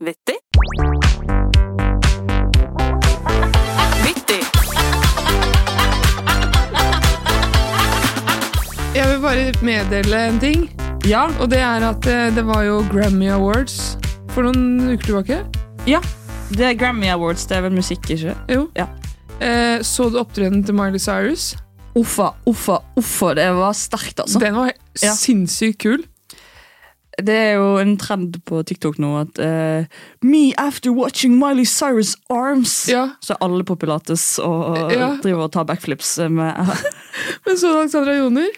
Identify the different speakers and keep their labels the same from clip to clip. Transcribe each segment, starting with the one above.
Speaker 1: Vittig. Vittig.
Speaker 2: Jeg vil bare meddele en ting,
Speaker 3: Ja,
Speaker 2: og det er at eh, det var jo Grammy Awards for noen uker tilbake.
Speaker 3: det er Grammy Awards, det er vel musikk, ikke?
Speaker 2: Jo.
Speaker 3: Ja.
Speaker 2: Eh, så du opptredenen til Miley Cyrus?
Speaker 3: Uffa, uffa, uffa, det var sterkt, altså. Det,
Speaker 2: Den var he-
Speaker 3: Ja.
Speaker 2: sinnssykt kul.
Speaker 3: er jo en trend på TikTok nå at eh, Me after watching Miley Cyrus arms.
Speaker 2: Ja,
Speaker 3: Så er alle på pilates og, og
Speaker 2: Ja.
Speaker 3: driver og tar backflips med
Speaker 2: Men så du Alexandra Joner?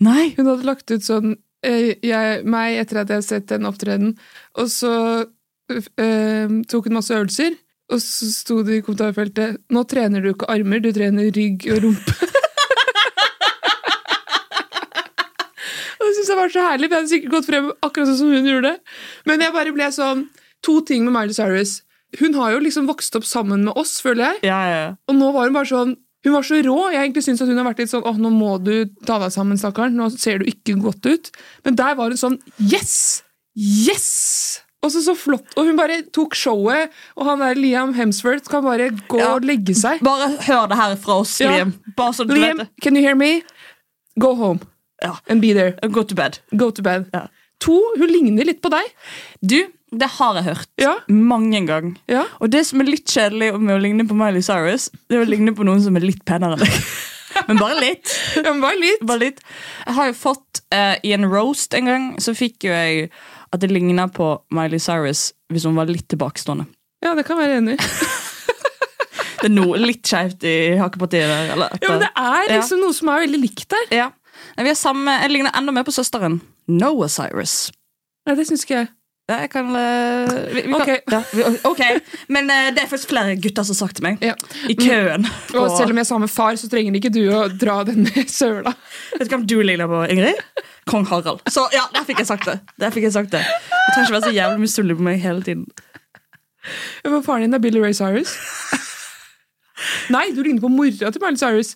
Speaker 3: Nei!
Speaker 2: Hun hadde lagt ut sånn eh, jeg, meg etter at jeg hadde sett den opptreden, og så eh, tok hun masse øvelser, og så sto det i kommentarfeltet Nå trener du ikke armer, du trener rygg og rumpe. og det syns jeg var så herlig, for jeg hadde sikkert gått frem akkurat sånn som hun gjorde. Men jeg bare ble sånn To ting med Miley Cyrus. Hun har jo liksom vokst opp sammen med oss, føler jeg.
Speaker 3: Ja, ja, ja.
Speaker 2: Og nå var hun bare sånn Hun var så rå. Jeg egentlig syns at hun har vært litt sånn åh, nå må du ta deg sammen, stakkaren. Nå ser du ikke godt ut. Men der var hun sånn Yes! Yes! Og så så flott. Og hun bare tok showet, og han der Liam Hemsworth kan bare gå
Speaker 3: Ja.
Speaker 2: og legge seg.
Speaker 3: Bare hør det her fra oss,
Speaker 2: Ja.
Speaker 3: Liam. Bare så du
Speaker 2: Liam,
Speaker 3: vet det.
Speaker 2: can you hear me? Go home.
Speaker 3: Ja.
Speaker 2: And be there.
Speaker 3: Go to bed.
Speaker 2: Go to bed.
Speaker 3: Ja.
Speaker 2: To, hun ligner litt på deg.
Speaker 3: Du, det har jeg hørt.
Speaker 2: Ja.
Speaker 3: Mange ganger.
Speaker 2: ja.
Speaker 3: Og det som er litt kjedelig med å ligne på Miley Cyrus, det er å ligne på noen som er litt penere enn deg. Men bare litt.
Speaker 2: ja men bare litt.
Speaker 3: Bare litt. Jeg har jo fått eh, I en roast en gang så fikk jo jeg at det ligna på Miley Cyrus hvis hun var litt tilbakestående.
Speaker 2: Ja, det kan jeg være enig i.
Speaker 3: Det er noe litt skeivt i hakkepartiet der. Eller et
Speaker 2: Ja, men det
Speaker 3: eller
Speaker 2: er liksom noe som er veldig likt der.
Speaker 3: annet. ja. Nei, Vi er samme, Jeg ligner enda mer på søsteren. Noah Cyrus.
Speaker 2: Nei, det syns ikke jeg.
Speaker 3: Ja, jeg kan, eh, vi, vi kan
Speaker 2: Ok.
Speaker 3: ja, vi, ok. Men eh, det er faktisk flere gutter som har sagt til meg.
Speaker 2: Ja.
Speaker 3: I køen.
Speaker 2: Og selv om jeg er samme far, så trenger ikke du å dra den ned i søla.
Speaker 3: Vet du hvem du ligner på, Ingrid? Kong Harald. Så ja, der fikk jeg sagt det. Der fikk jeg sagt det. Du trenger ikke være så jævlig misunnelig på meg hele tiden.
Speaker 2: Ja, Men faren din er Billy Ray Cyrus. Nei, du ligner på mora til Miley Cyrus.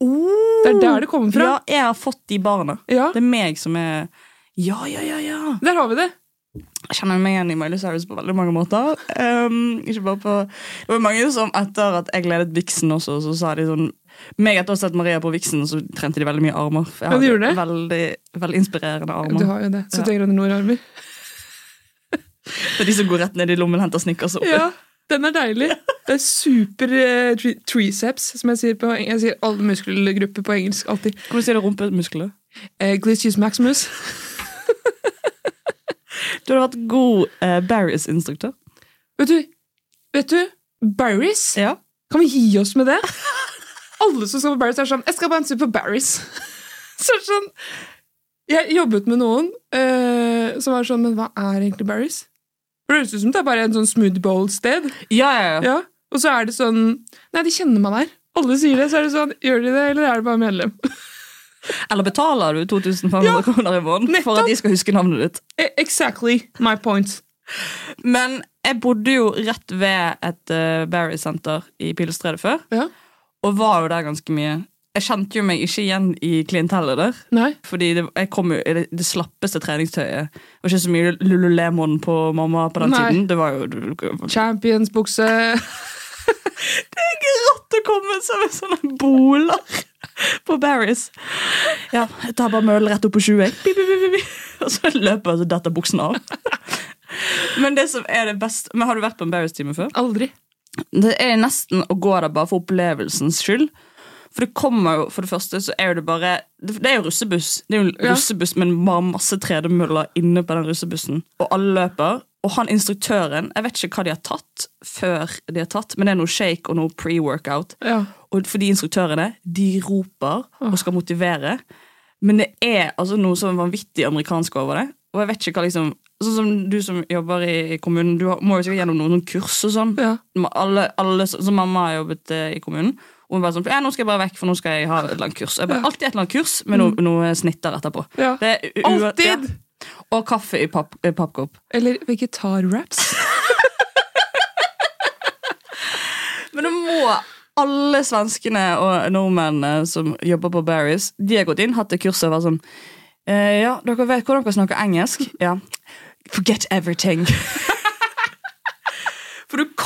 Speaker 2: Det er der det kommer fra.
Speaker 3: Ja, jeg har fått de barna.
Speaker 2: Ja.
Speaker 3: Det er meg som er Ja, ja, ja, ja.
Speaker 2: Der har vi det.
Speaker 3: Jeg kjenner meg igjen i Miley Cyrus på veldig mange måter. Ehm, ikke bare på Det var mange som etter at jeg ledet Vixen også, så sa de sånn Meg etter å ha sett Maria på Vixen, så trente de veldig mye armer. For
Speaker 2: Ja, de
Speaker 3: jeg
Speaker 2: gjorde det.
Speaker 3: veldig, veldig inspirerende
Speaker 2: Du
Speaker 3: armer.
Speaker 2: har jo det.
Speaker 3: Ja.
Speaker 2: 71 grader nord-armer.
Speaker 3: Det er de som går rett ned i lommen og henter snickers opp.
Speaker 2: Ja, den er deilig. Det er super eh, tre- triceps, som jeg sier på eng- Jeg sier alle muskelgrupper på engelsk alltid.
Speaker 3: Hvordan sier du rumpemuskler?
Speaker 2: Eh, Glitches maximus.
Speaker 3: Du hadde vært god eh, Barry's-instruktør.
Speaker 2: Vet du, vet du, Barry's?
Speaker 3: Ja.
Speaker 2: Kan vi gi oss med det? Alle som skal på Barry's, er sånn Jeg skal bare en tur på Barry's. Så er det sånn Jeg jobbet med noen eh, som var sånn Men hva er egentlig Barry's? For Det høres ut som det er bare en sånn smoothie bowl-sted.
Speaker 3: Ja, ja, ja.
Speaker 2: Ja. Og så er det sånn Nei, de kjenner meg der. Alle sier det, så er det sånn Gjør de det, eller er det bare medlem?
Speaker 3: Eller betaler du 2500
Speaker 2: Ja,
Speaker 3: kroner i måneden for at de skal huske navnet ditt?
Speaker 2: Eh, Exactly my point.
Speaker 3: Men jeg bodde jo rett ved et uh, Barry-senter i Pilestredet før,
Speaker 2: Ja.
Speaker 3: og var jo der ganske mye. Jeg kjente jo meg ikke igjen i klientellet der,
Speaker 2: Nei.
Speaker 3: fordi det, jeg kom jo i det, det slappeste treningstøyet. Det var ikke så mye Lululemon på mamma på den
Speaker 2: Nei.
Speaker 3: tiden. Det var jo det
Speaker 2: Champions-bukse.
Speaker 3: er grått å komme som en sånn boler på Barry's. Ja, jeg tar bare møl rett opp på 20, jeg. Bi, bi, bi, bi, bi. Og så løper jeg, og så detter buksen av. Men det som er det beste Men Har du vært på en Barry's-time før?
Speaker 2: Aldri.
Speaker 3: Det er nesten å gå der bare for opplevelsens skyld. For det kommer jo, for det første, så er jo det bare Det det er jo russebuss, Det er jo en
Speaker 2: Ja.
Speaker 3: russebuss men bare masse tredemøller inne på den russebussen. Og alle løper. Og han instruktøren Jeg vet ikke hva de har tatt før de har tatt, men det er noe shake og noe pre-workout.
Speaker 2: Ja.
Speaker 3: Og fordi instruktørene, de roper og skal motivere. Men det er altså noe sånn vanvittig amerikansk over det. Og jeg vet ikke hva liksom Sånn som du som jobber i kommunen, du har- må jo sikkert gjennom noen sånn kurs og sånn.
Speaker 2: Ja.
Speaker 3: Ma- Alle, alle, så så mamma har jobbet eh, i kommunen. Og hun bare sånn Ja, nå skal jeg bare vekk, for nå skal jeg ha et eller annet kurs. Jeg bare, Alltid et eller annet kurs med noe, noe snitter etterpå.
Speaker 2: Mm. Ja.
Speaker 3: Det er u- u-
Speaker 2: Alltid!
Speaker 3: Ja. Og kaffe i papp, i pappkopp.
Speaker 2: Eller vegetar-wraps.
Speaker 3: Men det må alle svenskene og nordmennene som jobber på Barry's, de har gått inn, hatt det kurset og vært sånn eh, Ja, dere vet hvordan dere snakker engelsk? Ja. Forget everything.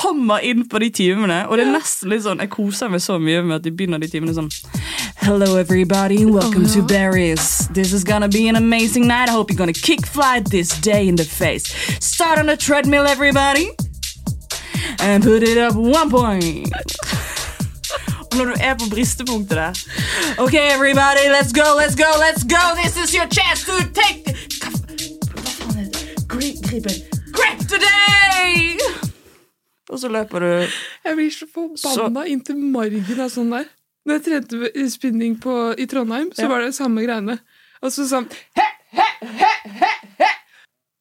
Speaker 3: kommer inn på de timene, og det er nesten litt sånn, jeg koser meg så mye med at de begynner de timene sånn Oh, Hello everybody, welcome
Speaker 2: Å, ja.
Speaker 3: to Barry's. This is gonna be an amazing night. I hope you're gonna kick fly this day in the face. Start on the treadmill, everybody. And put it up one point. Og når du er på bristepunktet der Ok, everybody, let's go, let's go, let's go This is your chance to take Hva hva faen er det? Gri- Grip it. Grip today! Og så løper du
Speaker 2: Jeg blir så forbanna inntil margen av sånn der. Når jeg trente spinning på, i Trondheim, så
Speaker 3: Ja.
Speaker 2: var det samme greiene. Og så sånn he, he, he, he, he.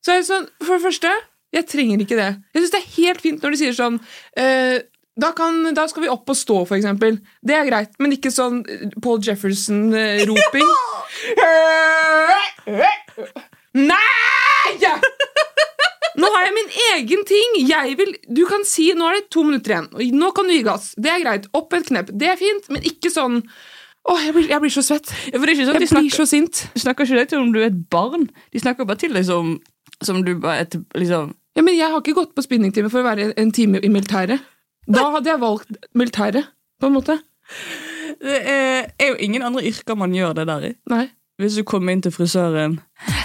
Speaker 2: Så er det sånn, For det første, jeg trenger ikke det. Jeg syns det er helt fint når de sier sånn eh, da, kan, da skal vi opp og stå, for eksempel. Det er greit, men ikke sånn eh, Paul Jefferson-roping. Nei! Nå har jeg min egen ting! Jeg vil, du kan si nå er det to minutter igjen. og Nå kan du gi gass. Det er greit. Opp et knepp. Det er fint, men ikke sånn Åh, jeg blir, jeg blir så svett.
Speaker 3: Ja, for det er ikke sånn at de
Speaker 2: Jeg blir
Speaker 3: snakker,
Speaker 2: så sint.
Speaker 3: snakker ikke deg til om du er et barn De snakker bare til deg som Som du bare er til, liksom
Speaker 2: Ja, men jeg har ikke gått på spinningtime for å være en time i militæret. Da hadde jeg valgt militæret, på en måte.
Speaker 3: Det er, er jo ingen andre yrker man gjør det der i
Speaker 2: Nei.
Speaker 3: Hvis du kommer inn til frisøren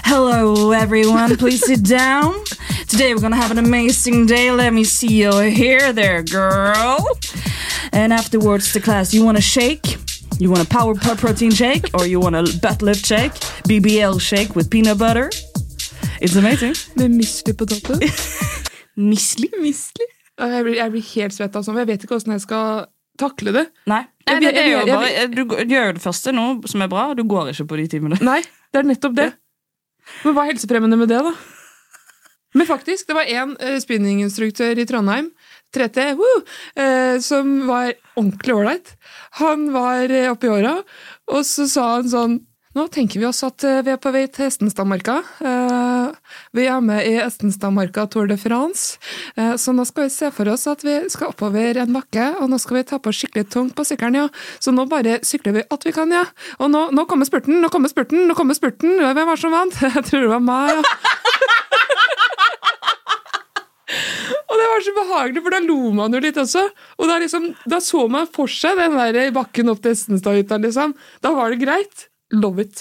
Speaker 3: Hello everyone, please sit down Today we're gonna have an amazing day Let me see your hair there, girl And afterwards the class, you wanna shake? You want a power pro- protein shake? Or you want a butt lift shake? BBL shake with peanut butter? It's amazing
Speaker 2: Med misli på toppen.
Speaker 3: Mislig? Mislig?
Speaker 2: Åh, Jeg blir, jeg blir helt svett av sånn. for Jeg vet ikke åssen jeg skal takle det.
Speaker 3: Nei,
Speaker 2: Jeg
Speaker 3: det,
Speaker 2: blir-
Speaker 3: er jo
Speaker 2: jeg blir-
Speaker 3: bare Du g- gjør det første nå som er bra Du går ikke på de timene
Speaker 2: Nei, det er nettopp det. Men hva er helsefremmende med det, da? Men faktisk, det var en eh, spinninginstruktør i Trondheim, 3T, woo, eh, som var ordentlig ålreit. Han var eh, oppi åra, og så sa han sånn Nå tenker vi oss at eh, vi er på vei til Estenstadmarka. Eh, vi er med i Estenstadmarka Tour de France, eh, så nå skal vi se for oss at vi skal oppover en bakke, og nå skal vi ta på skikkelig tungt på sykkelen, ja. Så nå bare sykler vi alt vi kan, ja. Og nå, nå kommer spurten, nå kommer spurten, nå kommer spurten. Hvem var som vant? Jeg tror det var meg, ja. Og det var så behagelig, for da lo man jo litt også. Og da, liksom, da så man for seg den der bakken opp til Estenstadhytta, liksom. Da var det greit. Love it.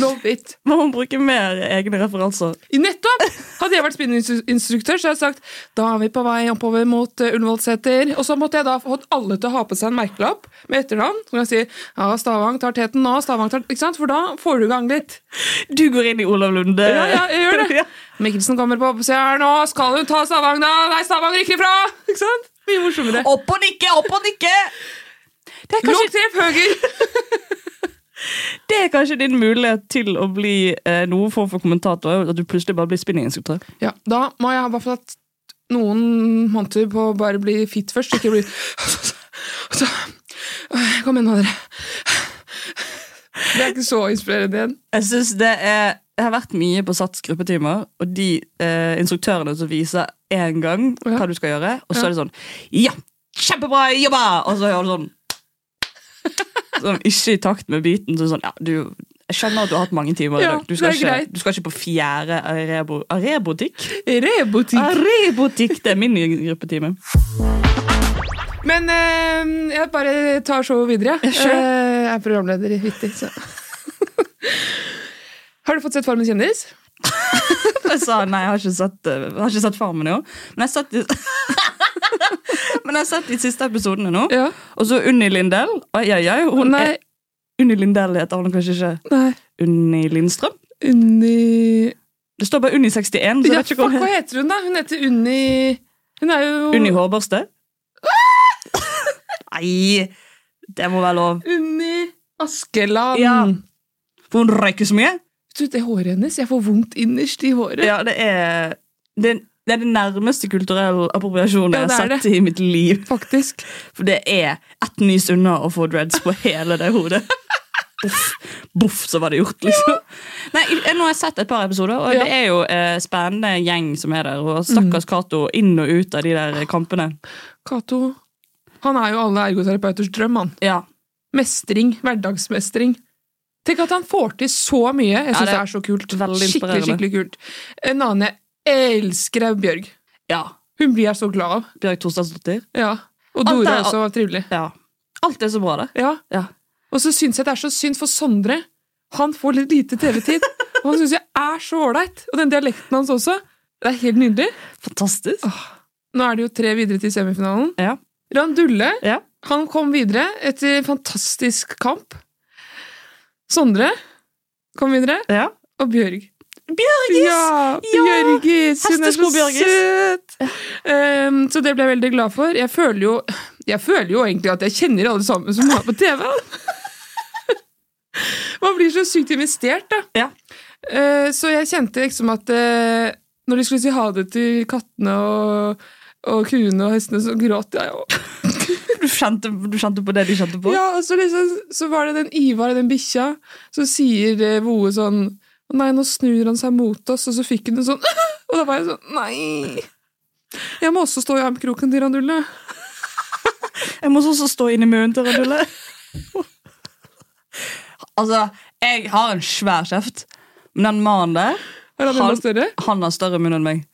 Speaker 2: Love it.
Speaker 3: Må man bruke mer egne referanser
Speaker 2: I Nettopp! Hadde jeg vært spinninginstruktør, så hadde jeg sagt da er vi på vei oppover mot eh, Ullevålseter. Og så måtte jeg da fått alle til å ha på seg en merkelapp med etternavn. Så kan jeg si ja, Stavang tar teten nå, Stavang tar Ikke sant? For da får du i gang litt.
Speaker 3: Du går inn i Olav Lunde.
Speaker 2: Ja, ja, jeg gjør det.
Speaker 3: Ja.
Speaker 2: Mikkelsen kommer på og sier her nå, skal hun ta Stavang da? Nei, Stavang rykker ifra! Ikke sant? Mye morsommere.
Speaker 3: Opp og nikke, opp og nikke! Det er, kanskje,
Speaker 2: Lågt treff høyre!
Speaker 3: det er kanskje din mulighet til å bli eh, noen form for kommentator. At du plutselig bare blir spinninginstruktør.
Speaker 2: Ja, da må jeg i hvert fall ha t- noen måneder på å bare bli fit først, ikke bli Så, øh, Kom igjen, da, dere. Det er ikke så inspirerende igjen.
Speaker 3: Jeg synes det er jeg har vært mye på Sats gruppetimer, og de eh, instruktørene som viser én gang
Speaker 2: Ja.
Speaker 3: hva du skal gjøre, og så er det sånn Ja! Kjempebra jobba! Og så gjør du sånn Sånn ikke i takt med biten. Så sånn, ja, du, jeg skjønner at du har hatt mange timer i
Speaker 2: Ja,
Speaker 3: dag. Du skal,
Speaker 2: det er
Speaker 3: ikke,
Speaker 2: greit.
Speaker 3: du skal ikke på fjerde arebo, arebotikk.
Speaker 2: Rebotikk.
Speaker 3: Arebotikk! Det er min nye gruppetime.
Speaker 2: Men øh, jeg bare tar showet videre. Jeg,
Speaker 3: sure.
Speaker 2: Eh, jeg er programleder i Vittig, så Har du fått sett Farmen kjendis?
Speaker 3: Jeg sa nei, jeg har ikke sett, eh, jeg har ikke sett Farmen i år. Men jeg har sett de, men jeg har sett de siste episodene nå.
Speaker 2: Ja.
Speaker 3: Og så Unni Lindell. Ai, ai, ai. Hun
Speaker 2: Nei.
Speaker 3: er, Unni Lindell heter hun kanskje ikke.
Speaker 2: Nei.
Speaker 3: Unni Lindstrøm?
Speaker 2: Unni
Speaker 3: Det står bare Unni 61. så jeg
Speaker 2: Ja,
Speaker 3: vet ikke hva
Speaker 2: fuck, hva
Speaker 3: hun heter.
Speaker 2: heter hun, da? Hun heter Unni Hun er jo
Speaker 3: Unni Hårbarste? Nei, det må være lov.
Speaker 2: Unni Askeland.
Speaker 3: Ja. For hun røyker så mye.
Speaker 2: Vet du, det håret hennes, jeg får vondt innerst i håret.
Speaker 3: Ja, det er det, det er det nærmeste kulturelle appropriasjonen
Speaker 2: Ja,
Speaker 3: jeg
Speaker 2: det er
Speaker 3: har sett i mitt liv.
Speaker 2: Faktisk.
Speaker 3: For det er ett nys unna å få dreads på hele det hodet. Boff, boff, så var det gjort, liksom. Nei, jeg- Nå har jeg sett et par episoder, og
Speaker 2: Ja.
Speaker 3: det er jo eh, spennende gjeng som er der. Og stakkars Cato inn og ut av de der kampene.
Speaker 2: Cato Han er jo alle ergoterapeuters drøm, han.
Speaker 3: Ja,
Speaker 2: Mestring. Hverdagsmestring. Tenk at han får til så mye. Jeg
Speaker 3: Ja,
Speaker 2: syns
Speaker 3: det
Speaker 2: det,
Speaker 3: er
Speaker 2: er så kult.
Speaker 3: veldig
Speaker 2: Skikkelig,
Speaker 3: inspirerende.
Speaker 2: skikkelig kult. En annen jeg elsker, er Bjørg.
Speaker 3: ja.
Speaker 2: Hun blir jeg så glad av.
Speaker 3: Bjørg Torstensdottir.
Speaker 2: Ja. Og
Speaker 3: Alt er-
Speaker 2: Dora er også trivelig.
Speaker 3: Ja. Alt er så bra der.
Speaker 2: Ja.
Speaker 3: Ja.
Speaker 2: Og så syns jeg det er så synd for Sondre. Han får litt lite TV-tid. Og han syns jeg er så ålreit. Og den dialekten hans også. Det er helt nydelig.
Speaker 3: Fantastisk.
Speaker 2: Nå er det jo tre videre til semifinalen.
Speaker 3: Ja.
Speaker 2: Randulle
Speaker 3: Ja.
Speaker 2: han kom videre etter en fantastisk kamp. Sondre kom videre.
Speaker 3: ja.
Speaker 2: Og Bjørg.
Speaker 3: Bjørgis!
Speaker 2: Ja!
Speaker 3: Ja!
Speaker 2: Bjørgis! Hun er så
Speaker 3: Hestesko-Bjørgis.
Speaker 2: søt! Ehm, så det ble jeg veldig glad for. Jeg føler jo, jeg føler jo egentlig at jeg kjenner alle sammen som er på TV. Man blir så sykt investert, da.
Speaker 3: Ja.
Speaker 2: Eh, så jeg kjente liksom at eh, når de skulle si ha det til kattene og, og kuene og hestene, så gråt jeg òg.
Speaker 3: Du, kjente, du kjente på det de kjente på?
Speaker 2: Ja, og så, liksom, så var det den Ivar, den bikkja, som sier eh, Voe sånn «Å Nei, nå snur han seg mot oss, og så fikk hun en sånn Og da var jeg sånn Nei! Jeg må også stå i armkroken til Randulle.
Speaker 3: Jeg må også stå inni munnen til Radulle. altså, jeg har en svær kjeft, men den mannen der,
Speaker 2: Er han enda
Speaker 3: han,
Speaker 2: større?
Speaker 3: han har større munn enn meg.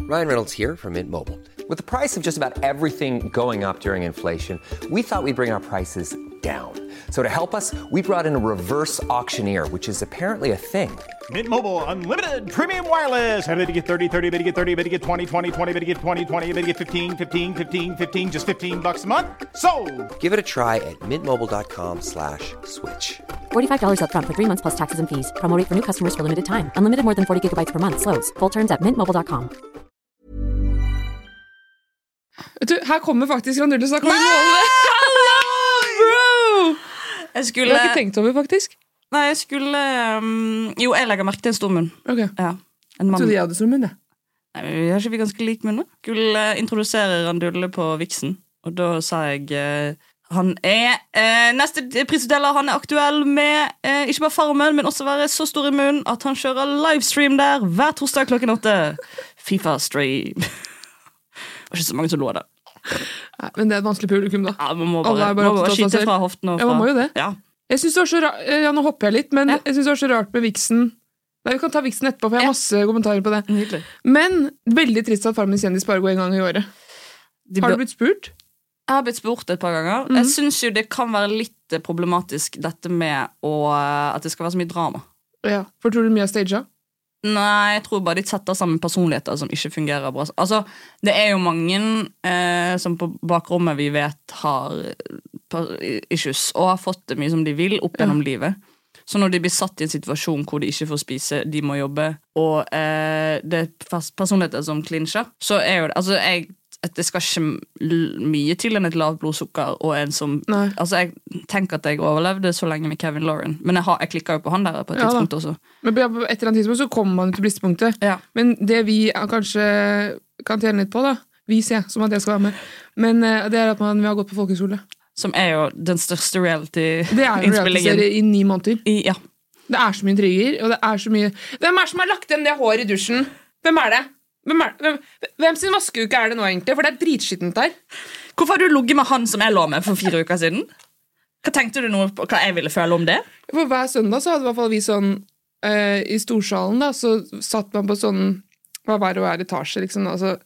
Speaker 1: Ryan Reynolds here from Mint Mobile. With the price of just about everything going up during inflation, we thought we'd bring our prices down. So to help us, we brought in a reverse auctioneer, which is apparently a thing.
Speaker 4: Mint Mobile unlimited premium wireless. Ready to get 30, 30, bit to get 30, bit to get 20, 20, 20, bit to get 20, 20, bit to get 15, 15, 15, 15 just 15 bucks a month. Sold.
Speaker 1: Give it a try at mintmobile.com slash switch.
Speaker 5: $45 up front for three months plus taxes and fees. Promo rate for new customers for limited time. Unlimited more than 40 gigabytes per month. Slows. Full terms at mintmobile.com.
Speaker 2: Vet du, her kommer faktisk Randulle, så da kan vi måle Bro!
Speaker 3: Jeg
Speaker 2: Det
Speaker 3: skulle,
Speaker 2: har jeg ikke tenkt over, faktisk.
Speaker 3: nei, jeg skulle um, Jo, jeg legger merke til en stor munn.
Speaker 2: Ok,
Speaker 3: Ja, en mann.
Speaker 2: Trodde jeg hadde som munn, jeg.
Speaker 3: Nei, men vi har ikke vi ganske lik munn, da? Skulle eh, introdusere Randulle på Vixen, og da sa jeg eh, han er eh, neste prisutdeler. Han er aktuell med eh, ikke bare Farmen, men også være så stor i munnen at han kjører livestream der hver torsdag klokken åtte. Fifa-stream. Det var ikke så mange som lå der.
Speaker 2: Nei, Men det er et vanskelig publikum, da.
Speaker 3: Ja, man må
Speaker 2: Alle
Speaker 3: bare,
Speaker 2: er bare
Speaker 3: man må bare
Speaker 2: opptatt av seg
Speaker 3: skyte
Speaker 2: selv.
Speaker 3: fra hoften. Og
Speaker 2: Ja,
Speaker 3: fra,
Speaker 2: man må jo det.
Speaker 3: Ja.
Speaker 2: Jeg synes det var så rart, ja, Nå hopper jeg litt, men
Speaker 3: Ja.
Speaker 2: jeg synes det var så rart med Vixen. Nei, Vi kan ta Vixen etterpå, for jeg har masse kommentarer på det.
Speaker 3: Nydelig.
Speaker 2: Men veldig trist at Farmen kjendis bare går en gang i året.
Speaker 3: De
Speaker 2: Har
Speaker 3: bør-
Speaker 2: du blitt spurt?
Speaker 3: Jeg har blitt spurt et par ganger. Jeg
Speaker 2: Mhm.
Speaker 3: syns jo det kan være litt eh, problematisk, dette med å, eh, at det skal være så mye drama.
Speaker 2: Ja. For tror du mye er staged?
Speaker 3: Nei, jeg tror bare de setter sammen personligheter som ikke fungerer bra. Altså, Det er jo mange eh, som på bakrommet vi vet har per- issues, og har fått det mye som de vil opp gjennom livet. Så når de blir satt i en situasjon hvor de ikke får spise, de må jobbe, og eh, det er pers- personligheter som klinsjer, så er jo det altså jeg, at Det skal ikke m- mye til enn et lavt blodsukker og en som
Speaker 2: Nei.
Speaker 3: Altså, Jeg tenker at jeg overlevde så lenge med Kevin Lauren, men jeg, har- jeg klikka jo på han der på et
Speaker 2: Ja da.
Speaker 3: tidspunkt også.
Speaker 2: Men på et eller annet tidspunkt så kommer man til bristepunktet.
Speaker 3: Ja.
Speaker 2: Men det vi er- kanskje kan tjene litt på, da Vi ser, som at jeg skal være med. Men eh, det er at man, vi har gått på folkehøyskole.
Speaker 3: Som er jo den største
Speaker 2: Det er en
Speaker 3: reality-innspillingen.
Speaker 2: reality-serie i ni måneder.
Speaker 3: I- Ja.
Speaker 2: Det er så mye intriger, og det er så mye Hvem er det som har lagt igjen det håret i dusjen? Hvem er det? Hvem, er, hvem, hvem sin vaskeuke er det nå, egentlig? For det er dritskittent der.
Speaker 3: Hvorfor har du ligget med han som jeg lå med for fire uker siden? Hva tenkte du noe på hva jeg ville føle om det?
Speaker 2: For hver søndag så hadde i hvert fall vi sånn eh, I storsalen da, så satt man på sånn hva var og hver etasje, liksom. Altså,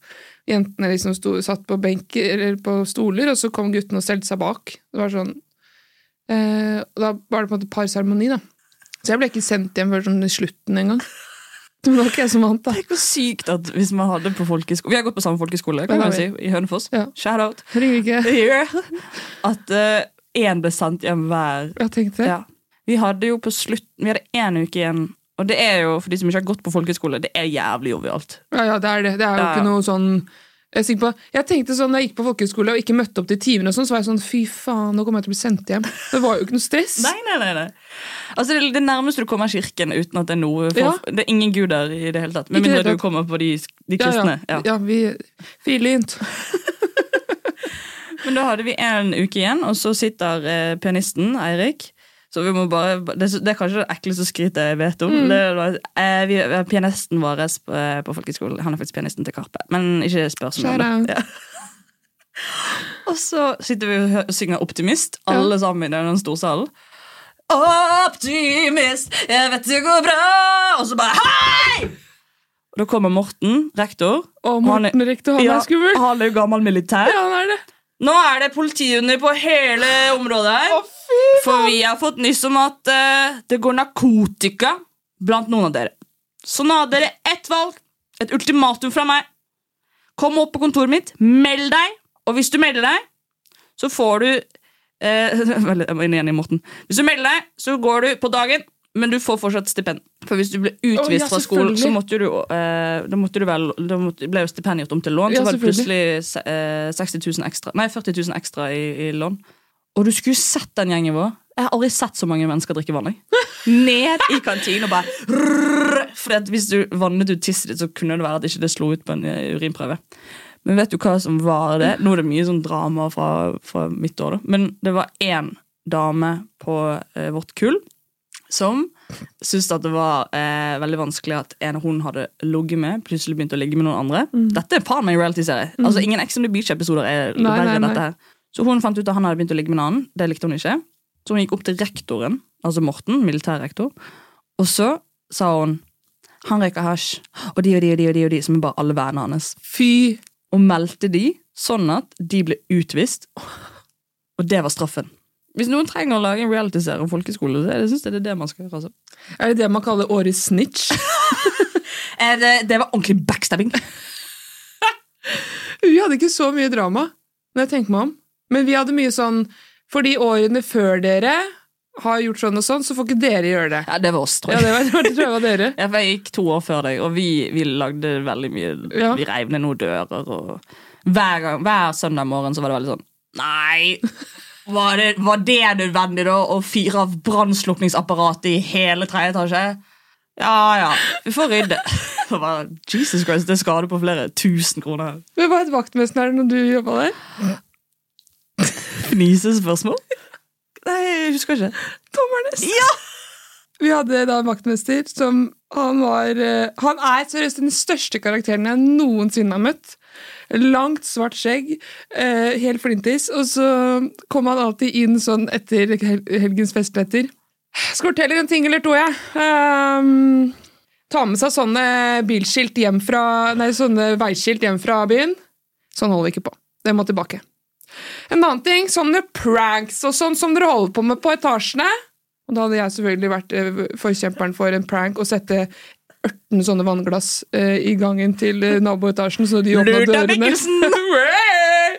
Speaker 2: jentene liksom sto, satt på benker eller på stoler, og så kom guttene og stelte seg bak. Det var sånn eh, og Da var det på en måte parseremoni, da. Så jeg ble ikke sendt hjem før sånn i slutten engang. Det var ikke jeg som vant, da.
Speaker 3: Tenk hvor sykt at hvis man hadde på folkeskole Vi har gått på samme folkeskole, kan
Speaker 2: Det har
Speaker 3: man si, i Hønefoss.
Speaker 2: Ja.
Speaker 3: Shout out.
Speaker 2: Jeg ringer ikke.
Speaker 3: Yeah. At eh, én ble sendt hjem hver.
Speaker 2: Jeg tenkte
Speaker 3: Ja. Vi hadde jo på slutt Vi hadde én uke igjen. Og det er jo, for de som ikke har gått på folkeskole, det er jævlig jovialt.
Speaker 2: Ja, ja, det er det. Det er jo
Speaker 3: Ja, ja.
Speaker 2: ikke noe sånn jeg, er sikker på, jeg tenkte sånn, Da jeg gikk på folkehøyskole og ikke møtte opp til timen, og sånn, så var jeg sånn Fy faen, nå kommer jeg til å bli sendt hjem. Det var jo ikke noe stress.
Speaker 3: Nei, nei, nei, nei. Altså, det, det nærmeste du kommer kirken uten at det er noe for,
Speaker 2: Ja.
Speaker 3: Det er ingen guder i det hele tatt. Med
Speaker 2: Ikke i det
Speaker 3: mindre
Speaker 2: hele
Speaker 3: du
Speaker 2: tatt.
Speaker 3: kommer på de, de
Speaker 2: ja, ja.
Speaker 3: kristne.
Speaker 2: ja.
Speaker 3: Ja.
Speaker 2: vi Fint.
Speaker 3: Men da hadde vi en uke igjen, og så sitter eh, pianisten Eirik. Så vi må bare, det, er så- det er kanskje det ekleste skrytet jeg vet om.
Speaker 2: Mm.
Speaker 3: Det, var- eh, vi, eh, pianisten vår eh, på folkehøgskolen Han er faktisk pianisten til Karpe. Men ikke spør så mye om
Speaker 2: Shout out.
Speaker 3: det. Ja. Og så sitter vi og hø- synger Optimist, alle sammen i den storsalen. Optimist, jeg vet det går bra! Og så bare hei! Og da kommer Morten, rektor.
Speaker 2: Å,
Speaker 3: og han er-
Speaker 2: Morten Rektor, han
Speaker 3: ja,
Speaker 2: er skummel.
Speaker 3: Han er jo gammel militær.
Speaker 2: Ja, han er det.
Speaker 3: Nå er det politihunder på hele området her. For vi har fått nyss om at eh, det går narkotika blant noen av dere. Så nå har dere ett valg. Et ultimatum fra meg. Kom opp på kontoret mitt, meld deg, og hvis du melder deg, så får du eh, veldig- Jeg må inn igjen i Morten. Hvis du melder deg, så går du på dagen, men du får fortsatt stipend. For hvis du ble utvist
Speaker 2: Å, ja,
Speaker 3: fra skolen, så
Speaker 2: selvfølgelig.
Speaker 3: måtte du, eh, da, måtte du vel, da måtte, ble jo stipendet gjort om til lån.
Speaker 2: Ja,
Speaker 3: så var det
Speaker 2: selvfølgelig.
Speaker 3: plutselig se- eh, 60 000 ekstra, nei, 40 000 ekstra i, i lån. Og du skulle sett den gjengen vår. Jeg har aldri sett så mange mennesker drikke vann. jeg. Ned i kantinen og bare rrrr, For at hvis du vannet ut tisset ditt, så kunne det være at ikke det slo ut på en eh, urinprøve. Men vet du hva som var det? Nå er det mye sånn drama fra, fra mitt år, da. Men det var én dame på eh, vårt kull som syntes at det var eh, veldig vanskelig at en hun hadde ligget med, plutselig begynte å ligge med noen andre. Dette er faen meg en reality-serie. Altså Ingen Ex on the Beach-episoder er
Speaker 2: Mm. Nei,
Speaker 3: verre
Speaker 2: nei,
Speaker 3: enn
Speaker 2: nei.
Speaker 3: dette her. Så hun fant ut at han hadde begynt å ligge med en annen. Det likte hun ikke. Så hun gikk opp til rektoren, altså Morten, militærrektor, og så sa hun han røyker hasj, og de og de og de og de, og de som er bare alle vennene hans
Speaker 2: Fy.
Speaker 3: og meldte de, sånn at de ble utvist. Og det var straffen. Hvis noen trenger å lage en realityserie om folkeskole, så er det, synes jeg det er det man skal gjøre. Altså.
Speaker 2: Er det det man kaller årets snitch?
Speaker 3: Eh, det, var ordentlig backstabbing.
Speaker 2: Vi hadde ikke så mye drama, når jeg tenker meg om. Men vi hadde mye sånn For de årene før dere har gjort sånn og sånn, så får ikke dere gjøre det.
Speaker 3: Ja, det var oss, tror
Speaker 2: Ja,
Speaker 3: jeg.
Speaker 2: det var, det var- det tror jeg var dere.
Speaker 3: Ja, for jeg gikk to år før deg, og vi, vi lagde veldig mye.
Speaker 2: Ja.
Speaker 3: Vi reiv ned noen dører. Og hver, gang, hver søndag morgen så var det veldig sånn Nei! Var det, var det nødvendig, da? Å fyre av brannslukningsapparatet i hele tredje etasje? Ja ja, vi får rydde. Det var, Jesus Christ, det er skade på flere tusen kroner.
Speaker 2: Men hva het vaktmesteren her når du jobba der?
Speaker 3: Fnisespørsmål? Nei, jeg husker ikke.
Speaker 2: Dommernes.
Speaker 3: Ja!
Speaker 2: Vi hadde da en vaktmester som han var eh, Han er seriøst den største karakteren jeg noensinne har møtt. Langt, svart skjegg, eh, helt flintis. Og så kom han alltid inn sånn etter hel- helgens festletter. Skal fortelle en ting eller to, jeg. Ehm, ta med seg sånne bilskilt hjem fra Nei, sånne veiskilt hjem fra byen. Sånn holder vi ikke på. Det må tilbake. En annen ting, sånne pranks og sånn som dere holder på med på etasjene. Og da hadde jeg selvfølgelig vært eh, forkjemperen for en prank og sette 18 sånne vannglass eh, i gangen til eh, naboetasjen, så de åpna
Speaker 3: Lurt av
Speaker 2: dørene.
Speaker 3: Mikkelsen!
Speaker 2: Hey!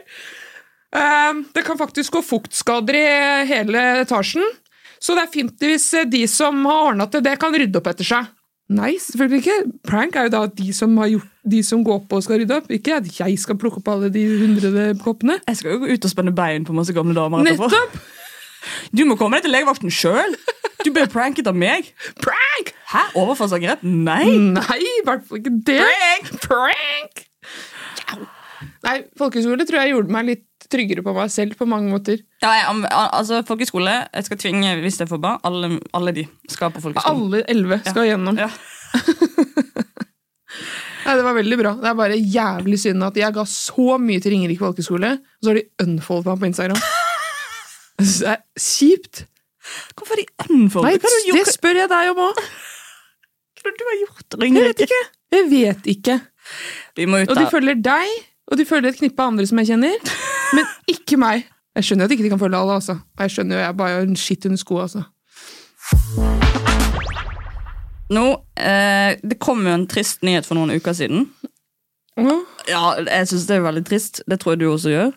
Speaker 2: Ehm, det kan faktisk gå fuktskader i hele etasjen, så det er fint hvis eh, de som har ordna til det, kan rydde opp etter seg. Nei, selvfølgelig ikke. Prank er jo da de som, har gjort, de som går på og skal rydde opp, ikke at jeg skal plukke opp alle de hundrede koppene.
Speaker 3: Jeg skal jo gå ut og spenne bein på masse gamle damer etterpå.
Speaker 2: Nettopp!
Speaker 3: Du må komme deg til legevakten sjøl! Du ble pranket av meg.
Speaker 2: Prank!
Speaker 3: Hæ? Overfallsangrep? Nei!
Speaker 2: Nei, i hvert fall ikke det. Prank! Prank! Nei, folkehøyskole tror jeg gjorde meg litt tryggere på meg selv på mange måter.
Speaker 3: Ja, jeg, am- al- altså, folkeskole, jeg skal tvinge, hvis jeg får barn, alle, alle de skal på folkeskole.
Speaker 2: Alle elleve skal gjennom.
Speaker 3: Ja.
Speaker 2: Nei, Det var veldig bra. Det er bare jævlig synd at jeg ga så mye til Ringerike folkehøgskole, og så har de unfoldet meg på Instagram. Jeg synes Det er kjipt.
Speaker 3: Hvorfor er de unfold?
Speaker 2: Nei,
Speaker 3: Hva har du
Speaker 2: det
Speaker 3: gjort?
Speaker 2: spør jeg deg om òg.
Speaker 3: Hva har du har gjort?
Speaker 2: Jeg vet
Speaker 3: Ringerike?
Speaker 2: ikke. Jeg vet ikke.
Speaker 3: Vi må ut
Speaker 2: Og de
Speaker 3: av
Speaker 2: følger deg, og de følger et knippe andre som jeg kjenner, men ikke meg. Jeg skjønner at ikke de kan følge alle, altså. Og jeg skjønner jo, jeg er bare en skitt under skoa, altså.
Speaker 3: Nå, eh, det kom jo en trist nyhet for noen uker siden.
Speaker 2: Ja.
Speaker 3: Ja, jeg synes det er veldig trist. Det tror jeg du også gjør.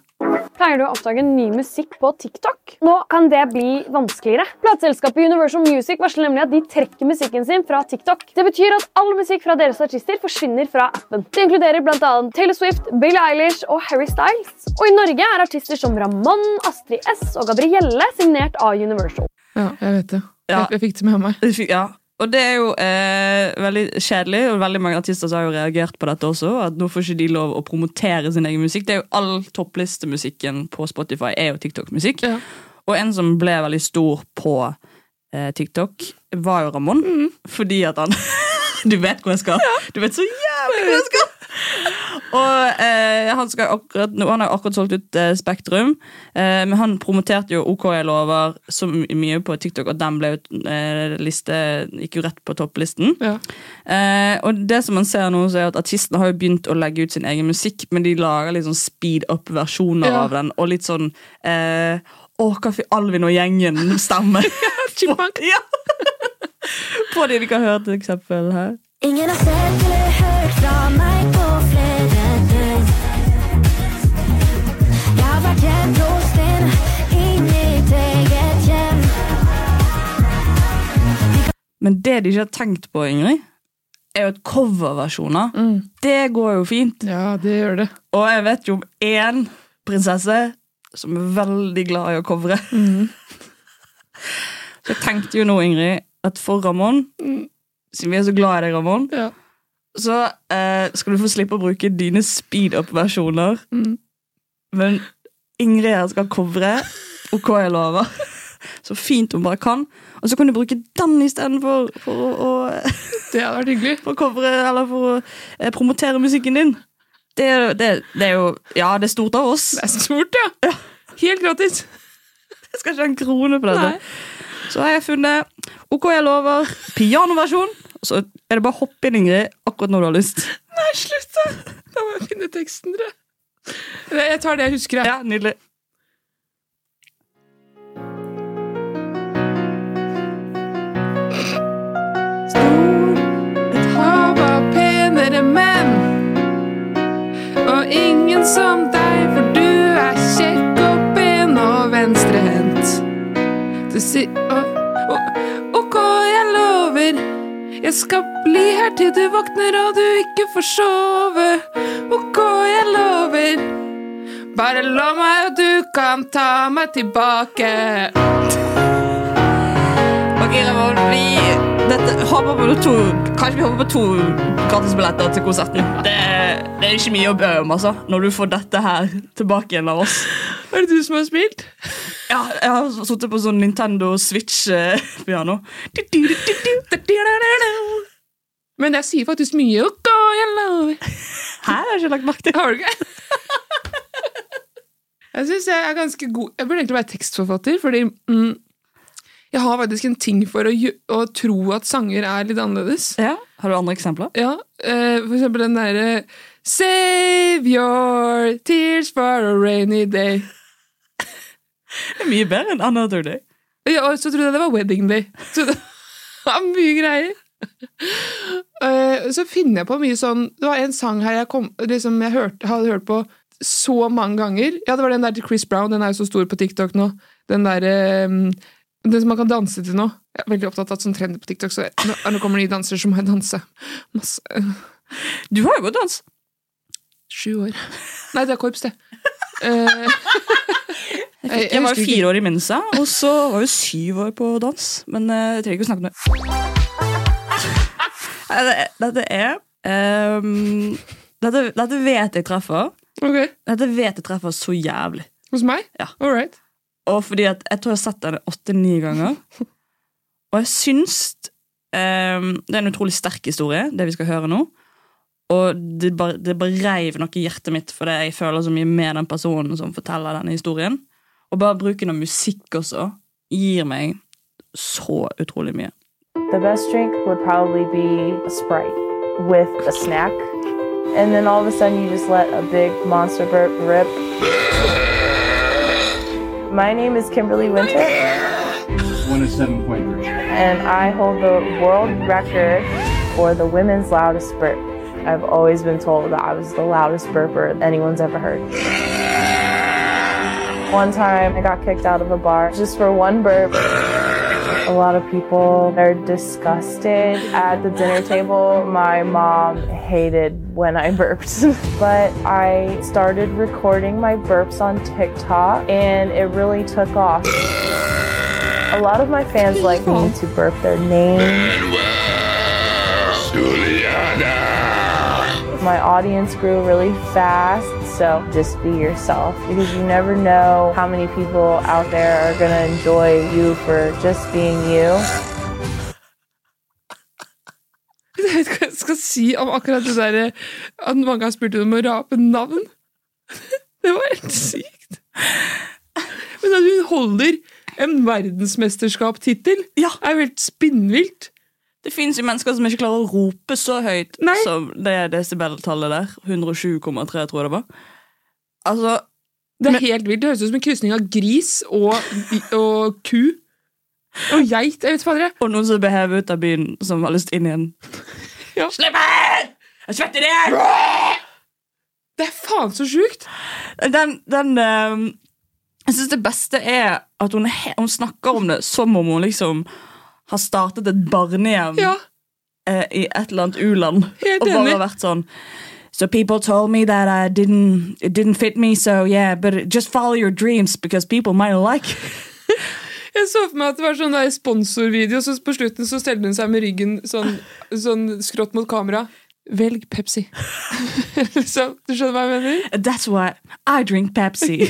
Speaker 6: Pleier du å oppdage ny musikk på TikTok? Nå kan det bli vanskeligere. Plateselskapet Universal Music varsler nemlig at de trekker musikken sin fra TikTok. Det betyr at all musikk fra deres artister forsvinner fra appen. Det inkluderer bl.a. Taylor Swift, Billie Eilish og Harry Styles. Og i Norge er artister som Ramón, Astrid S og Gabrielle signert av Universal.
Speaker 2: Ja, jeg vet det.
Speaker 3: Ja.
Speaker 2: Jeg, jeg fikk det med meg.
Speaker 3: Det fikk- Ja. Og det er jo eh, veldig kjedelig, og veldig mange artister har jo reagert på dette også. At nå får ikke de lov å promotere sin egen musikk. Det er jo All topplistemusikken på Spotify er jo TikTok-musikk.
Speaker 2: Ja.
Speaker 3: Og en som ble veldig stor på eh, TikTok, var jo Ramón. Fordi at han Du vet hvor jeg skal! Du vet så jævlig hvor jeg skal! Og eh, han, skal akkurat, nå, han har akkurat solgt ut eh, Spektrum, eh, men han promoterte jo OK jeg lover så my- mye på TikTok, og den ble jo eh, liste, gikk jo rett på topplisten.
Speaker 2: Ja.
Speaker 3: Eh, og det som man ser nå, så er at artistene har jo begynt å legge ut sin egen musikk, men de lager litt sånn speed up-versjoner
Speaker 2: Ja.
Speaker 3: av den, og litt sånn eh, Å, hva fikk Alvin og gjengen stemme?
Speaker 2: Chipmunk.
Speaker 3: ja. på de vi kan høre til eksempel her.
Speaker 7: Ingen har sett eller hørt fra meg på flere døgn. Jeg har vært gjemt hos din i mitt eget hjem.
Speaker 3: Men det de ikke har tenkt på, Ingrid, er jo at coverversjoner, det går jo fint.
Speaker 2: ja, det gjør det.
Speaker 3: Og jeg vet jo om én prinsesse som er veldig glad i å covre. så jeg tenkte jo nå, Ingrid, at for Ramón, siden vi er så glad i deg, Ramón,
Speaker 2: Ja.
Speaker 3: så eh, skal du få slippe å bruke dine speed up-versjoner. Men Ingrid her skal covre OK, jeg lover. Så fint hun bare kan. Og så kan du bruke den istedenfor for å, å,
Speaker 2: Det hadde vært hyggelig.
Speaker 3: for å covre eller for å eh, promotere musikken din. Det, er- det, det er jo Ja, det er stort av oss.
Speaker 2: Det er stort, ja. Helt gratis.
Speaker 3: Jeg skal ikke ha en krone på dette.
Speaker 2: Nei.
Speaker 3: Så har jeg funnet OK, jeg lover. Pianoversjon. Og så er det bare å hoppe inn, Ingrid, akkurat når du har lyst.
Speaker 2: Nei, slutt, da! Da må jeg finne teksten, dere. Nei, Jeg tar det jeg husker. jeg.
Speaker 3: Ja, nydelig.
Speaker 2: Et hav av penere menn. Og ingen som deg, for du er kjekk og pen og venstrehendt. Du sier og, og, Ok, jeg lover. Jeg skal bli her til du våkner og du ikke får sove. Ok, jeg lover. Bare lov meg, og du kan ta meg tilbake.
Speaker 3: Ok, Ramon, vi dette, hopper på to Kanskje vi hopper på to gratisbilletter til konserten. Det, det er ikke mye å bø om, altså, når du får dette her tilbake igjen av oss.
Speaker 2: Er det du som har spilt?
Speaker 3: Ja, jeg har sittet på sånn Nintendo Switch-piano. Her
Speaker 2: Men jeg sier faktisk mye. Ok, jeg lover.
Speaker 3: har jeg ikke lagt merke til.
Speaker 2: Har du ikke? Jeg synes jeg er ganske god Jeg burde egentlig være tekstforfatter, fordi mm, jeg har faktisk en ting for å, gjø- å tro at sanger er litt annerledes.
Speaker 3: Ja, Har du andre eksempler?
Speaker 2: Ja, eh, for eksempel den derre Save your tears for a rainy day.
Speaker 3: Det er mye bedre enn Another Day.
Speaker 2: Ja, og så trodde jeg det var wedding day. Så det var mye greier. Eh, så finner jeg på mye sånn Det var en sang her jeg, kom, liksom, jeg hørte, hadde hørt på så mange ganger. Ja, det var den der til Chris Brown. Den er jo så stor på TikTok nå. Den der eh, Den som man kan danse til nå. Jeg er veldig opptatt av sånn trend på TikTok, så nå, nå kommer det nye danser, så må jeg danse. Masse.
Speaker 3: Du har jo gått dans.
Speaker 2: Sju år. Nei, det er korps, det. Eh, jeg,
Speaker 3: Jeg var
Speaker 2: husker
Speaker 3: jo
Speaker 2: ikke-
Speaker 3: fire år i Mensa, og så var jeg jo syv år på dans. Men eh, jeg trenger ikke å snakke om det. Nei, det- Dette er ehm, dette, dette vet jeg treffer.
Speaker 2: Ok,
Speaker 3: Dette vet jeg treffer så jævlig.
Speaker 2: Hos meg?
Speaker 3: Ja.
Speaker 2: All right.
Speaker 3: Og fordi at jeg tror jeg har sett den åtte-ni ganger. Og jeg syns ehm, Det er en utrolig sterk historie, det vi skal høre nå. Og det bare, det bare reiv noe i hjertet mitt, for jeg føler så mye med den personen som forteller denne historien. Og bare bruken av musikk også gir meg så utrolig mye.
Speaker 8: The best drink would probably be a Sprite with a snack. And then all of a sudden, you just let a big monster burp rip. My name is Kimberly Winter. 107.3. And I hold the world record for the women's loudest burp. I've always been told that I was the loudest burper anyone's ever heard. One time, I got kicked out of a bar just for one burp. A lot of people are disgusted at the dinner table. My mom hated when I burped, but I started recording my burps on TikTok and it really took off. A lot of my fans like me to burp their name. My audience grew really fast, so just be yourself because you never know how many people out there are gonna enjoy you for just being you.
Speaker 2: Jeg vet ikke hva jeg skal si om akkurat det derre at mange har spurt om å rape navn. Det var helt sykt. Men at hun holder en verdensmesterskaptittel,
Speaker 3: Ja.
Speaker 2: er jo helt spinnvilt.
Speaker 3: Det fins jo mennesker som ikke klarer å rope så høyt
Speaker 2: Nei.
Speaker 3: som det desibeltallet der. 107,3, tror jeg det var. Altså,
Speaker 2: Det er
Speaker 3: Men-
Speaker 2: helt vilt. Det høres ut som en krysning av gris og, og ku. Og geit. Jeg vet fader, jeg.
Speaker 3: Og noen som ble hevet ut av byen, som har lyst inn igjen.
Speaker 2: Ja.
Speaker 3: Slipp meg! Jeg svetter i hjel!
Speaker 2: Det er faen så sjukt!
Speaker 3: Den, den ehm, Jeg syns det beste er at hun, er he- hun snakker om det som om hun liksom har startet et barnehjem
Speaker 2: Ja.
Speaker 3: eh, i et eller annet u-land.
Speaker 2: Helt
Speaker 3: Og bare
Speaker 2: enig.
Speaker 3: har vært sånn So people told me that I didn't, it didn't fit me, so yeah, but just follow your dreams, because people might like
Speaker 2: Jeg så for meg at det var sånn der sponsorvideo, så på slutten så stelte hun seg med ryggen sånn, sånn skrått mot kamera. Velg Pepsi. så, du skjønner hva jeg mener?
Speaker 3: That's why I drink Pepsi.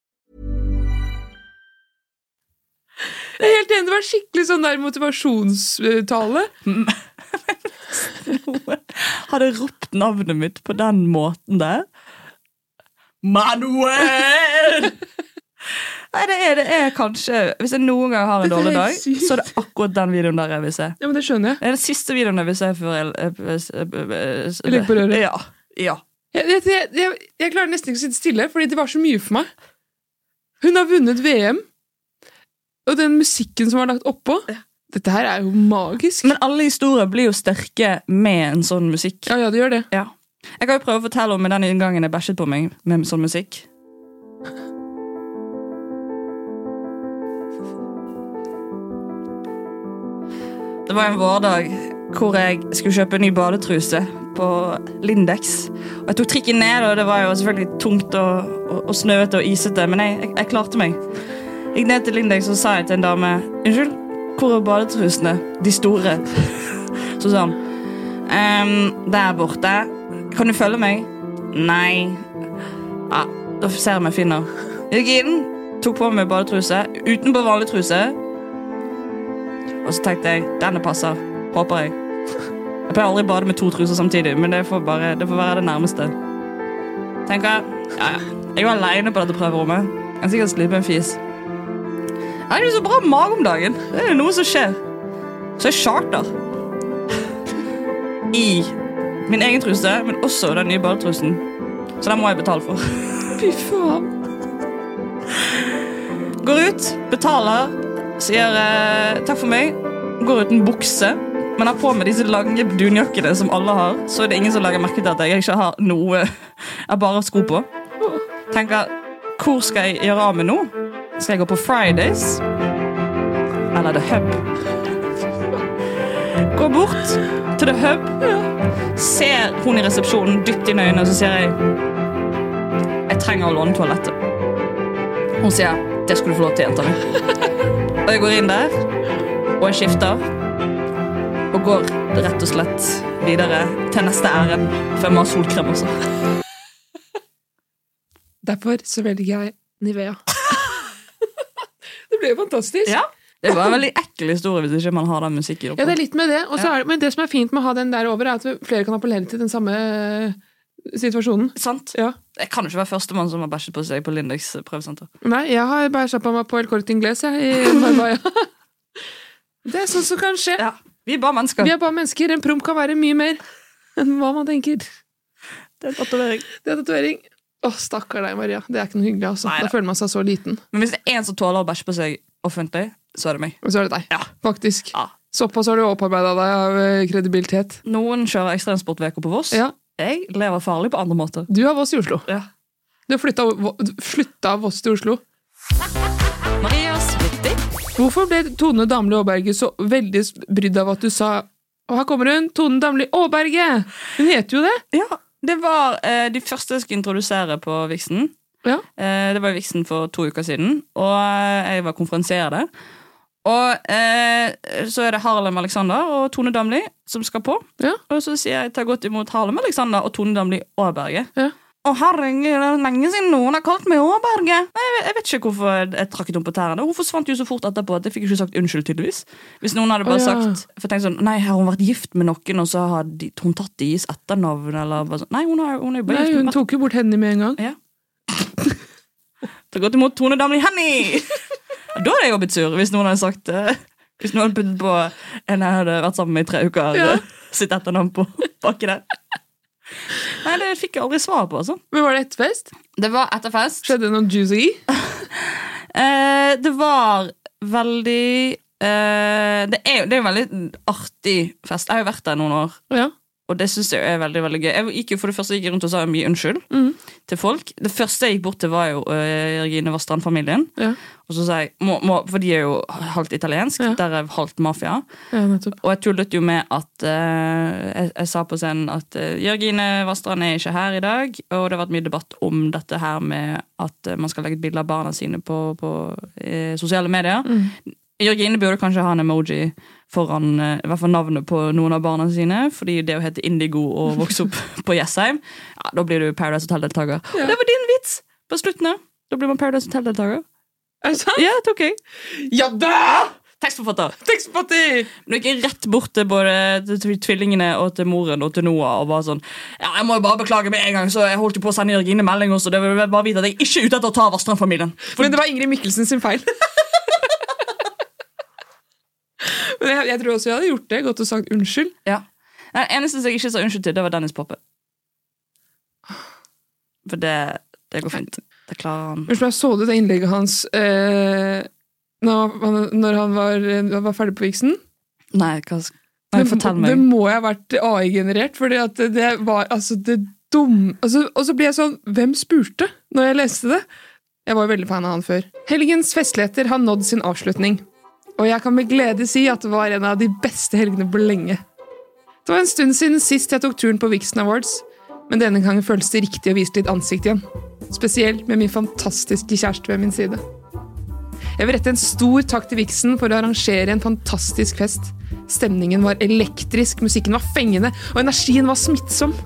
Speaker 2: Jeg er helt enig, det var skikkelig sånn der motivasjonstale.
Speaker 3: hadde ropt navnet mitt på den måten der Manuel! Nei, det er, det er kanskje Hvis jeg noen gang har en
Speaker 2: Dette er
Speaker 3: dårlig dag,
Speaker 2: helt sykt.
Speaker 3: så er det akkurat den videoen der jeg vil se.
Speaker 2: Ja, men det skjønner jeg.
Speaker 3: Det er den siste videoen jeg vil se før jeg eh, Jeg
Speaker 2: Jeg legger på røret.
Speaker 3: eh, Ja. ja.
Speaker 2: Jeg, jeg, jeg, jeg klarer nesten ikke å sitte stille, fordi det var så mye for meg. Hun har vunnet VM, og den musikken som var lagt oppå Dette her er jo magisk.
Speaker 3: Men alle historier blir jo sterke med en sånn musikk.
Speaker 2: ja, ja, det gjør det.
Speaker 3: Ja. Jeg kan jo prøve å fortelle om den inngangen jeg bæsjet på meg med sånn musikk. Det var en vårdag hvor jeg skulle kjøpe en ny badetruse på Lindex. Og jeg tok trikken ned, og det var jo selvfølgelig tungt og, og, og snøete og isete, men jeg, jeg, jeg klarte meg. Jeg gikk ned til Lindex og sa jeg til en dame Unnskyld, hvor er badetrusene? De store. Så sa han Ehm, der borte. Kan du følge meg? Nei. Ja, da ser jeg om jeg finner. Jeg gikk inn, tok på meg badetruse utenpå vanlig truse. Og så tenkte jeg denne passer. Håper jeg. Jeg pleier aldri å bade med to truser samtidig, men det får, bare, det får være det nærmeste. Tenker jeg, ja, ja. Jeg var aleine på dette prøverommet. Jeg kan sikkert slippe en fis. Jeg har ikke så bra mage om dagen. Det er noe som skjer. Så jeg charter i min egen truse, men også den nye badetrusen. Så den må jeg betale for.
Speaker 2: Fy faen.
Speaker 3: Går ut, betaler, sier eh, takk for meg. Går uten bukse, men har på meg disse lange dunjakkene som alle har. Så er det ingen som lager merke til at jeg ikke har noe Jeg bare har sko på. Tenker hvor skal jeg gjøre av meg nå? Skal jeg gå på Fridays? Eller The Hub? Går bort til The Hub, ser hun i resepsjonen dypt inn i øynene, og så sier jeg Jeg trenger å låne toalettet. Hun sier 'det skulle du få lov til, jenta mi'. Og jeg går inn der, og jeg skifter. Og går rett og slett videre til neste ærend, for jeg må ha solkrem også.
Speaker 2: Derfor så velger jeg Nivea. det ble jo fantastisk.
Speaker 3: Det var en veldig ekkel historie hvis ikke man har den musikken oppe.
Speaker 2: Ja, det er litt med det. Og så er det, men det som er fint med å ha den der over, er at flere kan appellere til den samme eh, situasjonen.
Speaker 3: Sant?
Speaker 2: Ja.
Speaker 3: Jeg kan jo ikke være førstemann som har bæsjet på seg på Lindex prøvesenter.
Speaker 2: Nei, jeg har bare slappa meg på El Corte Inglés, jeg. I Marbella. det er sånt som kan skje.
Speaker 3: Ja. Vi er bare mennesker.
Speaker 2: Vi er bare mennesker. En promp kan være mye mer enn hva man tenker.
Speaker 3: Det er en tatovering.
Speaker 2: Det er tatovering. Å, stakkar deg, Maria. Det er ikke noe hyggelig. altså.
Speaker 3: Neida.
Speaker 2: Da føler man seg så liten.
Speaker 3: Men hvis det er en som tåler å bæsje på seg offentlig, så er det meg.
Speaker 2: Men så er det deg,
Speaker 3: Ja.
Speaker 2: faktisk.
Speaker 3: Ja.
Speaker 2: Såpass har du opparbeida deg av eh, kredibilitet.
Speaker 3: Noen kjører ekstremsportveker på Voss.
Speaker 2: Ja,
Speaker 3: Jeg lever farlig på andre måter.
Speaker 2: Du har Voss i Oslo.
Speaker 3: Ja.
Speaker 2: Du har flytta, Vo- flytta Voss til Oslo.
Speaker 3: Marias vittig.
Speaker 2: Hvorfor ble Tone Damli Aaberge så veldig brydd av at du sa Og her kommer hun, Tone Damli Aaberge! Hun heter jo det.
Speaker 3: Ja, det var eh, de første jeg skulle introdusere på Vixen.
Speaker 2: Ja.
Speaker 3: Eh, det var Vixen for to uker siden, og eh, jeg var konferansier der. Og eh, så er det Harlem Alexander og Tone Damli som skal på.
Speaker 2: Ja.
Speaker 3: Og så sier jeg ta godt imot Harlem Alexander og Tone Damli Aaberge.
Speaker 2: Ja.
Speaker 3: Å herregud, det er lenge siden noen har kalt meg Aaberge! Nei, jeg, vet- jeg vet ikke hvorfor jeg, jeg trakk henne på tærne. Hun forsvant jo så fort etterpå at jeg fikk ikke sagt unnskyld, tydeligvis. Hvis noen hadde bare
Speaker 2: Å, ja.
Speaker 3: sagt for jeg tenkte sånn, Nei, har hun vært gift med noen, og så har de, hun tatt deres etternavn, eller bare sånn Nei, hun, har, hun er jo bare
Speaker 2: Nei,
Speaker 3: gift med
Speaker 2: hun tok jo bort Henny med en gang.
Speaker 3: ja. Ta godt imot Tone Damli Henny! da hadde jeg jo blitt sur, hvis noen hadde sagt eh, Hvis noen hadde puttet på en jeg hadde vært sammen med i tre uker,
Speaker 2: Ja.
Speaker 3: eh, sitt etternavn på baki der. Nei, det fikk jeg aldri svar på, altså.
Speaker 2: Men var det etterfest?
Speaker 3: Det var etter fest.
Speaker 2: Skjedde det noe juicy?
Speaker 3: Eh, det var veldig eh, det, er, jo- det er jo en veldig artig fest. Jeg har jo vært der noen år.
Speaker 2: Ja.
Speaker 3: Og det synes jeg er veldig, veldig gøy. Jeg gikk jo for det første gikk jeg rundt og sa mye unnskyld
Speaker 2: Mm.
Speaker 3: til folk. Det første jeg gikk bort til, var jo øh, Regine Vastrand-familien.
Speaker 2: Ja.
Speaker 3: Og så sa jeg, må, må, For de er jo halvt italiensk,
Speaker 2: Ja.
Speaker 3: derav halvt mafia.
Speaker 2: ja, nettopp.
Speaker 3: Og jeg tullet jo med at eh, jeg, jeg sa på scenen at eh, Jørgine Vastrand er ikke her i dag, og det har vært mye debatt om dette her med at eh, man skal legge et bilde av barna sine på, på eh, sosiale medier. Jørgine burde kanskje ha en emoji foran eh, i hvert fall navnet på noen av barna sine, fordi det å hete Indigo og vokse opp på Jessheim, ja, da blir du Paradise Hotel-deltaker. Og Det var din vits på slutten av. Da blir man Paradise Hotel-deltaker.
Speaker 2: Er det sant?
Speaker 3: Ja, det tok jeg.
Speaker 2: Ja da!
Speaker 3: Tekstforfatter.
Speaker 2: Tekstparti!
Speaker 3: Men jeg gikk rett bort til både til tv- tvillingene og til moren og til Noah og bare sånn Ja, jeg må jo bare beklage med en gang, så jeg holdt jo på å sende Jørgine melding også. Det vil bare vite at jeg ikke er ute etter å ta Vassdrand-familien. For
Speaker 2: Men det var Ingrid Mikkelsen sin feil. Men jeg, jeg tror også jeg hadde gjort det. Gått og sagt unnskyld.
Speaker 3: ja. Den eneste som jeg ikke sa unnskyld til, det var Dennis Poppe. For det, det går fint. Det klarer han.
Speaker 2: Unnskyld, jeg så du det innlegget hans eh, når, han, når han var, han var ferdig på Vixen?
Speaker 3: Nei, hva sk- Nei,
Speaker 2: Det-
Speaker 3: fortell
Speaker 2: Det
Speaker 3: meg.
Speaker 2: må jeg ha vært AI-generert, for det var altså det dumme altså, Og så blir jeg sånn Hvem spurte når jeg leste det? Jeg var jo veldig fan av han før. Helgens festligheter har nådd sin avslutning. Og jeg kan med glede si at det var en av de beste helgene på lenge. Det var en stund siden sist jeg tok turen på Vixen Awards, men denne gangen føles det riktig å vise litt ansikt igjen. Spesielt med min fantastiske kjæreste ved min side. Jeg vil rette en stor takk til Vixen for å arrangere en fantastisk fest. Stemningen var elektrisk, musikken var fengende, og energien var smittsom.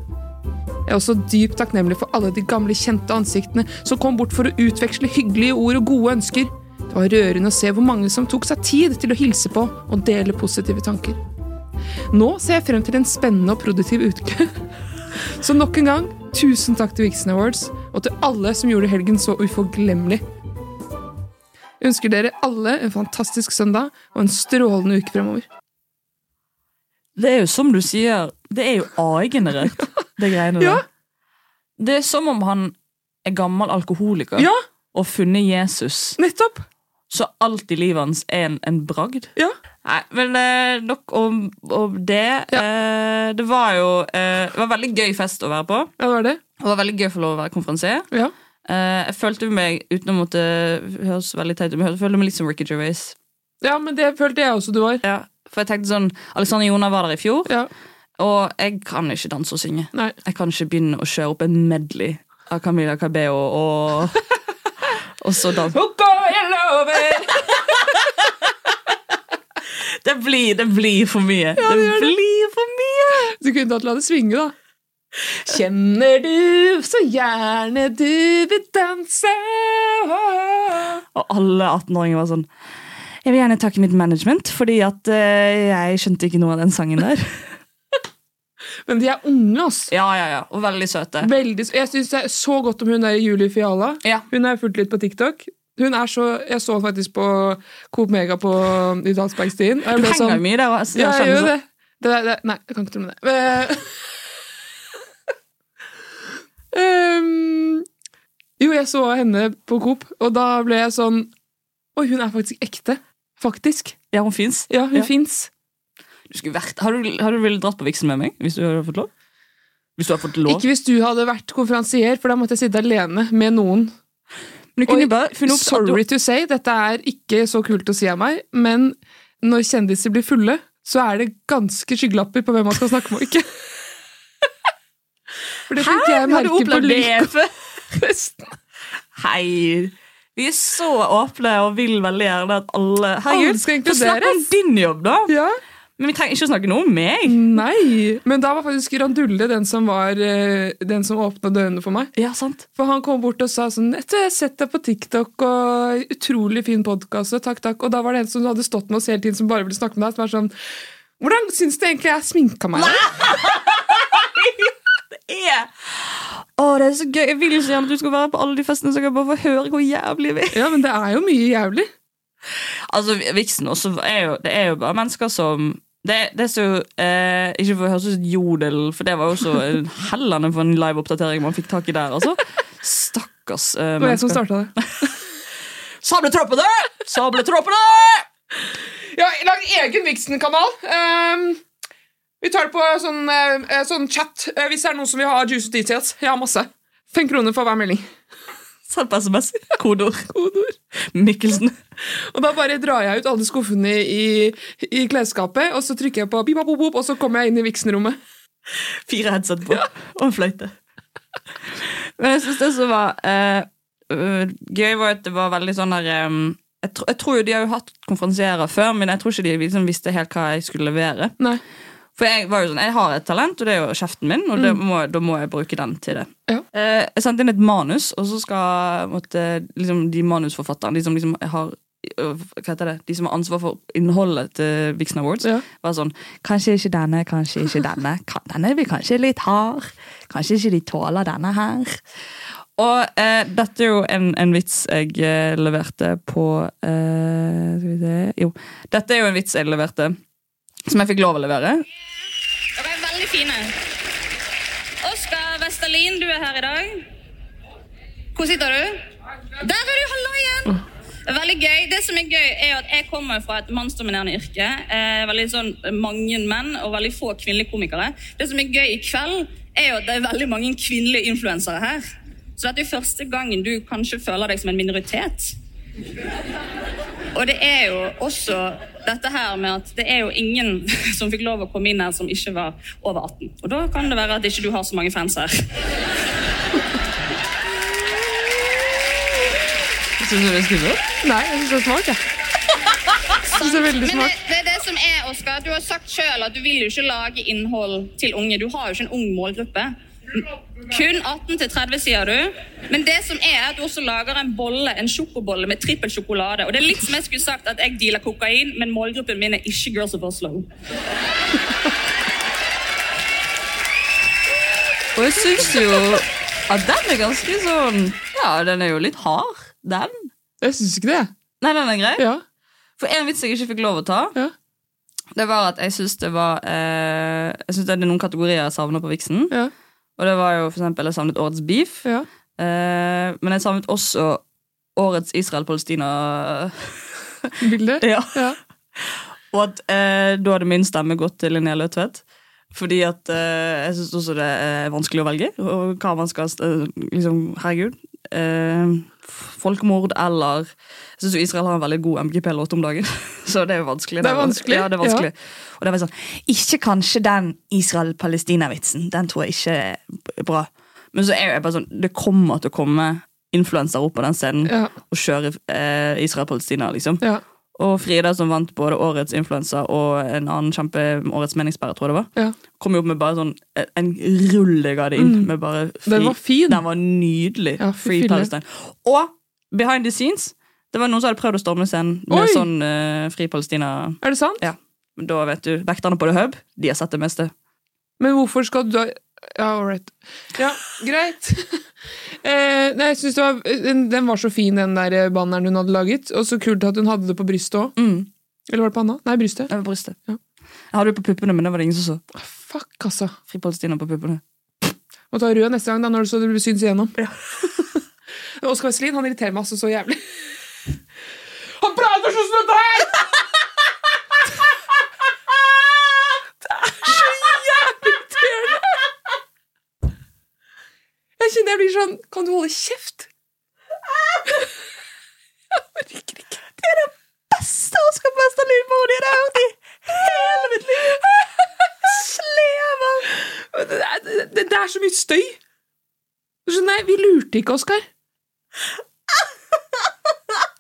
Speaker 2: Jeg er også dypt takknemlig for alle de gamle, kjente ansiktene som kom bort for å utveksle hyggelige ord og gode ønsker. Det var rørende å se hvor mange som tok seg tid til å hilse på og dele positive tanker. Nå ser jeg frem til en spennende og produktiv uke. Så nok en gang, tusen takk til Vixen Awards, og til alle som gjorde helgen så uforglemmelig. Jeg ønsker dere alle en fantastisk søndag og en strålende uke fremover.
Speaker 3: Det er jo som du sier, det er jo AI-generert, det greiene der.
Speaker 2: Ja.
Speaker 3: Det er som om han er gammel alkoholiker
Speaker 2: Ja,
Speaker 3: og funnet Jesus.
Speaker 2: nettopp!
Speaker 3: Så alt i livet hans er en, en bragd?
Speaker 2: Ja.
Speaker 3: Nei, men eh, nok om, om det. Eh, det var jo eh, Det var veldig gøy fest å være på.
Speaker 2: Ja, det var det.
Speaker 3: Det var veldig gøy å få lov å være konferansier.
Speaker 2: Ja.
Speaker 3: Eh, jeg følte meg uten å måtte høres veldig teit ut, men jeg følte meg litt som Ricky Gervais.
Speaker 2: ja, men det følte jeg også du var.
Speaker 3: Ja. For jeg tenkte sånn Alexander Joner var der i fjor,
Speaker 2: Ja,
Speaker 3: og jeg kan ikke danse og synge.
Speaker 2: nei.
Speaker 3: Jeg kan ikke begynne å kjøre opp en medley av Camilla Cabello og Og så danse. Det blir, det blir for mye. det, blir for mye!
Speaker 2: Du kunne tatt la det svinge, da. Kjenner du så gjerne du vil danse
Speaker 3: Og alle 18-åringer var sånn Jeg vil gjerne takke mitt management, fordi at eh, jeg skjønte ikke noe av den sangen der.
Speaker 2: Men de er unge, ass.
Speaker 3: ja, ja, ja, Og veldig søte.
Speaker 2: Veldig, jeg syns det er så godt om hun der Julie Fiala.
Speaker 3: Ja.
Speaker 2: Hun har jeg fulgt litt på TikTok. Hun er så, Jeg så henne faktisk på Coop Mega på, um, i Dalsbergstien. og jeg
Speaker 3: Du
Speaker 2: ble
Speaker 3: henger
Speaker 2: sånn-
Speaker 3: mye der. og
Speaker 2: Ja, jeg
Speaker 3: kjenner
Speaker 2: gjør
Speaker 3: sånn-
Speaker 2: det. det, er- det er- nei, jeg kan ikke tro med det. Eh, Ehm, jo, jeg så henne på Coop, og da ble jeg sånn Oi, hun er faktisk ekte. Faktisk.
Speaker 3: Ja, hun fins.
Speaker 2: Ja, hun
Speaker 3: Ja.
Speaker 2: fins.
Speaker 3: Du skulle vært, har du, har du villet dratt på Vixen med meg? Hvis du hadde fått lov? Hvis du hadde fått lov?
Speaker 2: Ikke hvis du hadde vært konferansier, for da måtte jeg sitte alene med noen.
Speaker 3: Men du kunne bare funnet opp at du-
Speaker 2: Sorry to say, dette er ikke så kult å si av meg, men når kjendiser blir fulle, så er det ganske skyggelapper på hvem man skal snakke med og ikke. For det fikk jeg
Speaker 3: Har du
Speaker 2: merke på
Speaker 3: opplevd det
Speaker 2: Lyko-
Speaker 3: før?
Speaker 2: festen.
Speaker 3: Hei. Vi er så åpne og vil veldig gjerne at alle
Speaker 2: Alle skal
Speaker 3: få snakke om
Speaker 2: inkluderes.
Speaker 3: din jobb, da.
Speaker 2: Ja.
Speaker 3: Men vi trenger ikke å snakke noe om meg.
Speaker 2: Nei! Men da var faktisk Randulle den som, var, eh, den som åpna dørene for meg.
Speaker 3: Ja, sant.
Speaker 2: For han kom bort og sa sånn Etter jeg har sett deg på TikTok og utrolig fin podkast og takk, takk. Og da var det en som hadde stått med oss hele tiden som bare ville snakke med deg, som var sånn Hvordan syns du egentlig jeg sminka meg?
Speaker 3: Yeah. Å, det er så gøy. Jeg vil så gjerne at du skal være på alle de festene, så jeg kan bare få høre hvor jævlig vi er.
Speaker 2: Ja, men det er jo mye jævlig.
Speaker 3: Altså, Vixen også er jo, det er jo bare mennesker som det, det er så, eh, Ikke for å høres ut som et jodel, for det var jo så en hellende for en live-oppdatering man fikk tak i der. altså. Stakkars eh,
Speaker 2: Det var jeg som
Speaker 3: mennesker.
Speaker 2: starta det.
Speaker 3: Sabletroppene! Sabletroppene!
Speaker 2: Ja, lag egen Vixen-kanal. Ehm, vi tar det på sånn, eh, sånn chat eh, hvis det er noen som vil ha juicy details. Jeg har masse. Fem kroner for hver melding.
Speaker 3: Send på SMS. Kodeord. Mikkelsen.
Speaker 2: Og da bare drar jeg ut alle skuffene i, i klesskapet, og så trykker jeg på bip, bop, bop, og så kommer jeg inn i Vixen-rommet.
Speaker 3: Fire headset på, og en fløyte. Men jeg synes det som var eh, øh, gøy, var at det var veldig sånn der eh, jeg, tro, jeg tror jo de har jo hatt konferansierer før, men jeg tror ikke de liksom visste helt hva jeg skulle levere.
Speaker 2: Nei.
Speaker 3: For jeg var jo sånn, jeg har et talent, og det er jo kjeften min, og det må, da må jeg bruke den til det.
Speaker 2: Mm. Ja.
Speaker 3: Eh, jeg sendte inn et manus, og så skal måtte, liksom, de manusforfatterne, de som liksom har øh, hva heter det? De som har ansvar for innholdet til Vixen Awards,
Speaker 2: Ja.
Speaker 3: var sånn Kanskje ikke denne, kanskje ikke denne. Kan, denne blir kanskje litt hard. Kanskje ikke de tåler denne her. Og eh, dette er jo en, en vits jeg eh, leverte på eh, Skal vi se Jo. Dette er jo en vits jeg leverte som jeg fikk lov å levere.
Speaker 8: De er veldig fine. Oskar Vestalin, du er her i dag. Hvor sitter du? Der er du, halloien! Veldig gøy. Det som er gøy, er at jeg kommer fra et mannsdominerende yrke. Eh, veldig sånn mange menn og veldig få kvinnelige komikere. Det som er gøy i kveld, er jo at det er veldig mange kvinnelige influensere her. Så dette er jo første gangen du kanskje føler deg som en minoritet. Og det er jo også dette her med at det er jo ingen som fikk lov å komme inn her som ikke var over 18. Og da kan det være at ikke du har så mange fans her.
Speaker 3: Syns du det er skummelt?
Speaker 2: Nei, jeg syns det er smart, jeg. Jeg synes det er veldig
Speaker 8: Men eh, det,
Speaker 2: smart.
Speaker 8: det er det som er, Oskar. Du har sagt sjøl at du vil jo ikke lage innhold til unge. Du har jo ikke en ung målgruppe. Kun 18 til 30, sier du. Men det som er at du også lager en bolle, en sjokobolle med trippel sjokolade. Og det er litt som jeg skulle sagt at jeg dealer kokain, men målgruppen min er ikke Girls of Oslo.
Speaker 3: Og jeg syns jo at den er ganske sånn Ja, den er jo litt hard, den.
Speaker 2: Jeg syns ikke det, jeg.
Speaker 3: Nei, den er grei.
Speaker 2: Ja.
Speaker 3: For en vits jeg ikke fikk lov å ta,
Speaker 2: Ja.
Speaker 3: det var at jeg syns det var eh, Jeg synes det er noen kategorier jeg savner på Vixen.
Speaker 2: Ja.
Speaker 3: Og det var jo for eksempel jeg savnet årets beef.
Speaker 2: Ja.
Speaker 3: Eh, men jeg savnet også årets Israel-Palestina
Speaker 2: Bildet.
Speaker 3: Ja.
Speaker 2: Ja.
Speaker 3: Og at eh, da hadde min stemme gått til Linnea Løtvedt. Fordi at eh, jeg syns også det er vanskelig å velge. Og hva man skal eh, liksom, Herregud. Eh, folkemord eller Jeg syns Israel har en veldig god MGP-låt om dagen. Så det er jo vanskelig.
Speaker 2: Det er vanskelig,
Speaker 3: Ja, det er vanskelig. Og det var sånn Ikke kanskje den Israel-Palestina-vitsen. Den tror jeg ikke er bra. Men så er jeg bare sånn Det kommer til å komme influensere opp på den scenen
Speaker 2: Ja.
Speaker 3: og kjøre eh, Israel-Palestina, liksom.
Speaker 2: Ja.
Speaker 3: Og Frida, som vant både årets influensa og en annen kjempe årets meningsbærer, tror jeg det var,
Speaker 2: Ja.
Speaker 3: kom jo opp med bare sånn en rulle jeg hadde inn. med bare fri.
Speaker 2: Den Mm. var fin.
Speaker 3: Den var nydelig.
Speaker 2: Ja, fy
Speaker 3: Free
Speaker 2: fille.
Speaker 3: Palestine. Og behind the scenes, det var noen som hadde prøvd å storme scenen med
Speaker 2: Oi!
Speaker 3: sånn eh, Fri Palestina.
Speaker 2: Er det sant?
Speaker 3: Ja. Men Da vet du, Vekterne på The Hub de har sett det meste.
Speaker 2: Men hvorfor skal du da Ja, all right. Ja, greit. eh, nei, jeg synes det var, den, den var så fin, den der eh, banneren hun hadde laget. Og så kult at hun hadde det på brystet òg.
Speaker 3: Mm.
Speaker 2: Eller var det panna? Nei, brystet.
Speaker 3: Over brystet.
Speaker 2: Ja.
Speaker 3: Jeg hadde det på puppene, men det var det ingen som så.
Speaker 2: Fuck, altså.
Speaker 3: Fri Palestina på puppene.
Speaker 2: Må ta rød neste gang, da, når du så det blir syns igjennom. Oskar Wesselin, han irriterer meg altså så jævlig. Han prater sånn som dette her! Det er så jævlig irriterende! Jeg kjenner jeg blir sånn Kan du holde kjeft?
Speaker 3: orker ikke. Det er det beste Oscar Westerlin-melodien jeg har hørt i hele mitt liv. Slever.
Speaker 2: Men Det er, det, det er så mye støy. Du skjønner, vi lurte ikke Oskar.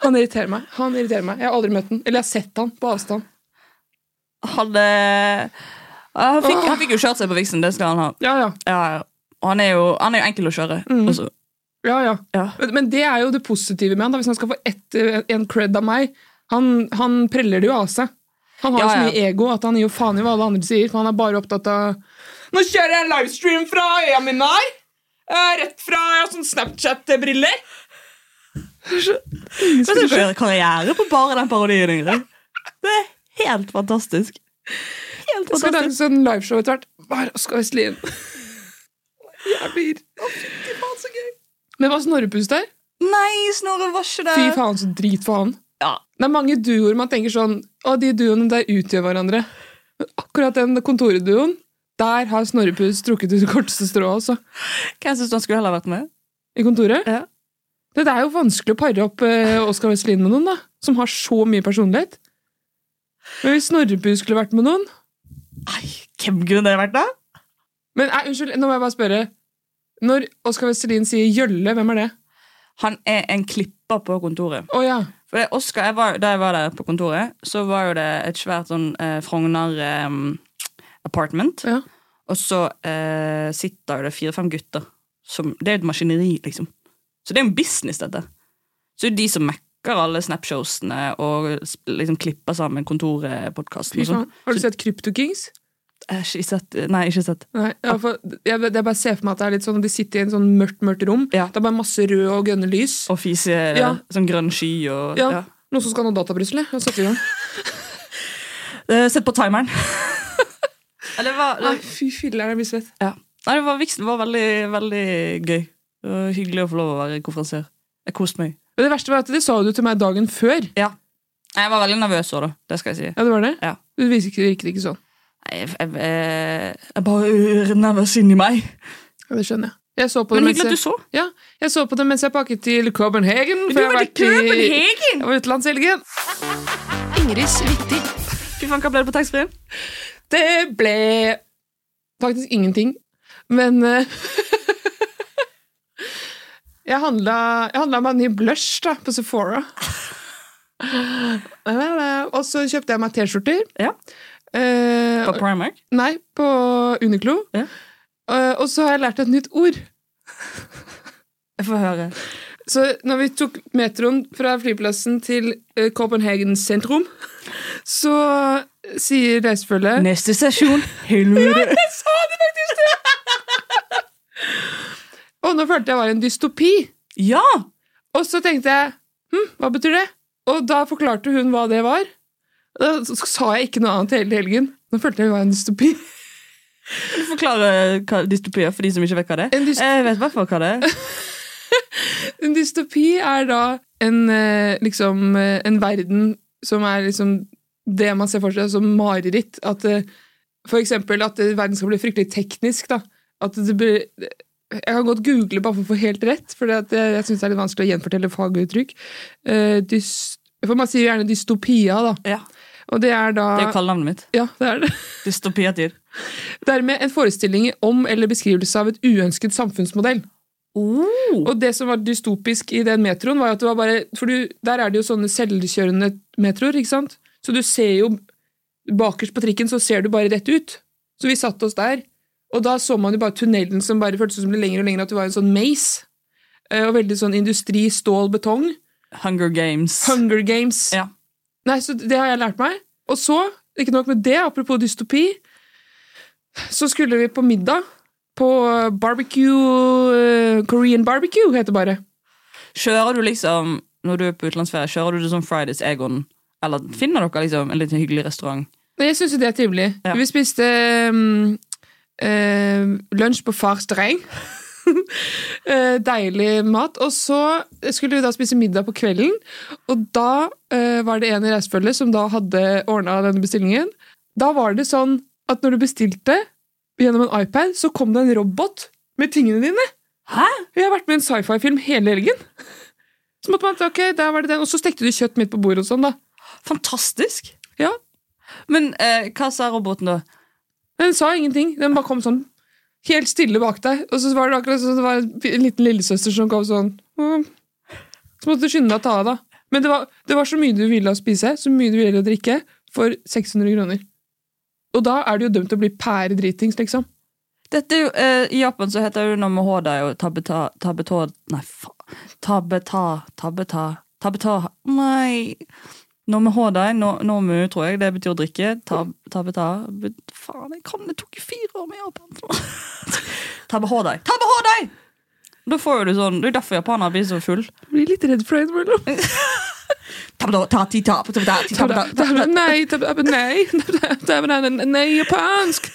Speaker 2: Han irriterer meg. Han irriterer meg. Jeg har aldri møtt han. Eller jeg har sett han på avstand.
Speaker 3: Han, eh, han, fikk, han fikk jo kjørt seg på viksen, det skal han ha.
Speaker 2: Ja, ja.
Speaker 3: Ja, ja. Og han er jo, han er jo enkel å kjøre.
Speaker 2: Mm.
Speaker 3: Også.
Speaker 2: ja, ja.
Speaker 3: Ja.
Speaker 2: Men, men det er jo det positive med han. Da. Hvis han skal få ett, eh, en cred av meg Han, han preller det jo av seg. Han har
Speaker 3: Ja,
Speaker 2: så
Speaker 3: ja.
Speaker 2: mye ego at han gir jo faen i hva alle andre sier. For han er bare opptatt av Nå kjører jeg en livestream fra øya mi her! Eh, Rett fra jeg har sånn Snapchat-briller.
Speaker 3: Men du kan gjøre karriere på bare den parodien, Ingrid. Det er helt fantastisk. Helt
Speaker 2: Jeg skal lage
Speaker 3: fantastisk.
Speaker 2: sånn liveshow etter hvert. Bare Oskar Vestlien. Jævlig irr. Men var Snorrepus der?
Speaker 3: Nei, Snorre var ikke
Speaker 2: Fy
Speaker 3: der.
Speaker 2: faen, så drit for han.
Speaker 3: Eh, Ja.
Speaker 2: Det er mange duoer man tenker sånn Å, de duoene der utgjør hverandre. Men akkurat den kontorduoen, der har Snorrepus trukket ut det korteste strået, altså.
Speaker 3: Hvem syns du han skulle heller vært med?
Speaker 2: I kontoret.
Speaker 3: Ja.
Speaker 2: Det er jo vanskelig å pare opp eh, Oskar Vestlien med noen, da. Som har så mye personlighet. Men hvis Snorrepus skulle vært med noen
Speaker 3: Nei, hvem kunne det vært, da?
Speaker 2: Men nei, unnskyld, nå må jeg bare spørre. Når Oskar Vestlin sier gjølle, hvem er det?
Speaker 3: Han er en klipper på kontoret.
Speaker 2: Å ja.
Speaker 3: For det, er Oscar, jeg var, da jeg var der på kontoret, så var jo det et svært sånn eh, Frogner eh, apartment.
Speaker 2: Ja.
Speaker 3: Og så eh, sitter det fire-fem gutter. Som, det er jo et maskineri, liksom. Så det er jo en business, dette. Så det er de som mekker alle snapshowsene og sp- liksom klipper sammen kontorpodkasten.
Speaker 2: Fy faen. Har du sett CryptoKings?
Speaker 3: Ikke sett. Nei, ikke sett.
Speaker 2: Nei, ja, for jeg, jeg bare ser for meg at det er litt sånn de sitter i en sånn mørkt, mørkt rom.
Speaker 3: Ja.
Speaker 2: Det er bare masse rød og grønne lys.
Speaker 3: Og fise
Speaker 2: Ja.
Speaker 3: sånn grønn sky og
Speaker 2: ja.
Speaker 3: ja.
Speaker 2: Noen som skal ha noe databrussel. Og sette i gang.
Speaker 3: Eh, Sett på timeren. Eller hva
Speaker 2: Nei, fy filler, jeg blir svett.
Speaker 3: Ja. Nei, det var, Vixen var veldig, veldig gøy. Det var hyggelig å få lov å være konferansier. Jeg koste meg.
Speaker 2: Men det verste var at det sa du til meg dagen før.
Speaker 3: Ja. Jeg var veldig nervøs òg, da. Det skal jeg si.
Speaker 2: Ja, det var det?
Speaker 3: Ja.
Speaker 2: Du virket, virket ikke sånn.
Speaker 3: Nei, Jeg, jeg, jeg, jeg er bare urnervøs inni meg.
Speaker 2: Ja, det skjønner jeg. Jeg så på det
Speaker 3: Men
Speaker 2: mens
Speaker 3: hyggelig at du
Speaker 2: jeg,
Speaker 3: så.
Speaker 2: ja, jeg så på det mens jeg pakket til Copenhagen. for jeg har vært i- Jeg var i utenlandshelgen.
Speaker 3: Fy faen, hva ble det på taxfree-en?
Speaker 2: Det ble faktisk ingenting, men eh, jeg, handla, jeg handla meg en ny blush da, på Sephora. Og så kjøpte jeg meg T-skjorter.
Speaker 3: Ja.
Speaker 2: Eh,
Speaker 3: På Primark?
Speaker 2: nei, på Uniqlo.
Speaker 3: Ja.
Speaker 2: Eh, og så har jeg lært et nytt ord.
Speaker 3: Jeg får høre.
Speaker 2: Så når vi tok metroen fra flyplassen til eh, Copenhagen sentrum, så eh, sier reisefølget
Speaker 3: Neste sesjon. Helvete.
Speaker 2: Jeg sa det faktisk det! og nå følte jeg var i en dystopi.
Speaker 3: Ja!
Speaker 2: Og så tenkte jeg hm, hva betyr det? Og da forklarte hun hva det var. Da s- sa jeg ikke noe annet hele helgen. Nå følte jeg vi var i en dystopi.
Speaker 3: Kan du forklare hva dystopi er for de som ikke vet hva det
Speaker 2: En
Speaker 3: er?
Speaker 2: dyst-
Speaker 3: Jeg vet i hvert fall hva det er.
Speaker 2: En dystopi er da en, eh, liksom, eh, en verden som er liksom det man ser for seg som mareritt. At eh, for eksempel at eh, verden skal bli fryktelig teknisk. da. At det blir... eh, Jeg kan godt google bare for å få helt rett, for jeg, jeg synes det er litt vanskelig å gjenfortelle faguttrykk. Eh, dys, for man sier jo gjerne dystopia, da.
Speaker 3: Ja.
Speaker 2: Og det er da
Speaker 3: Det er jo kallenavnet mitt.
Speaker 2: Ja, det er det.
Speaker 3: Dystopiatid.
Speaker 2: Dermed en forestilling om eller beskrivelse av et uønsket samfunnsmodell.
Speaker 3: Oh.
Speaker 2: Og det som var dystopisk i den metroen, var jo at det var bare For du, der er det jo sånne selvkjørende metroer, ikke sant? Så du ser jo Bakerst på trikken så ser du bare rett ut. Så vi satte oss der, og da så man jo bare tunnelen som bare føltes som det ble lengre og lengre, at det var en sånn maze. Eh, Og veldig sånn industri, stål, betong.
Speaker 3: Hunger Games.
Speaker 2: Hunger Games.
Speaker 3: Ja.
Speaker 2: Nei, så det har jeg lært meg. Og så, ikke nok med det, apropos dystopi, så skulle vi på middag på barbecue eh, Korean barbecue, heter det bare.
Speaker 3: Kjører du liksom, når du er på utenlandsferie, kjører du det sånn Fridays Egon? Eller finner dere liksom en liten hyggelig restaurant?
Speaker 2: Nei, Jeg syns jo det er trivelig.
Speaker 3: Ja.
Speaker 2: Vi spiste mm, eh, lunsj på Fars Dreng. Eh, Deilig mat. Og så skulle vi da spise middag på kvelden, og da eh, var det en i reisefølget som da hadde ordna denne bestillingen. Da var det sånn at når du bestilte gjennom en iPad, så kom det en robot med tingene dine.
Speaker 3: Hæ?
Speaker 2: Jeg har vært med i en sci-fi-film hele helgen. Så måtte man, ok, der var det den. Og så stekte du kjøtt midt på bordet og sånn, da.
Speaker 3: Fantastisk!
Speaker 2: Ja.
Speaker 3: Men eh, hva sa roboten da?
Speaker 2: Den sa ingenting. Den bare kom sånn helt stille bak deg. Og så var det akkurat sånn, det var en liten lillesøster som kom sånn «Mm». Så måtte du skynde deg å ta av deg. Men det var, det var så mye du ville å spise, så mye du ville å drikke, for 600 kroner. Og da er du jo dømt til å bli pæredritings, liksom.
Speaker 3: Dette er jo, eh, I Japan så heter det noe med H der, og tabeta, tabetå Nei, faen. Tabeta, tabeta, tabeta Nei. Noe med H der, no, normu, tror jeg. Det betyr å drikke. Tab, tabeta bet- Faen, jeg kan det tok jo fire år med Japan. Tabbe H der. Tabbe H der! Da får jo du sånn, Det er derfor japanere blir så full.
Speaker 2: Jeg blir litt redd for det innimellom.
Speaker 3: Tabetå, ta, ti, ta, tabeta, ti, tabeta, tabeta.
Speaker 2: Nei, tab- nei, tab- nei, nei, nei, japansk!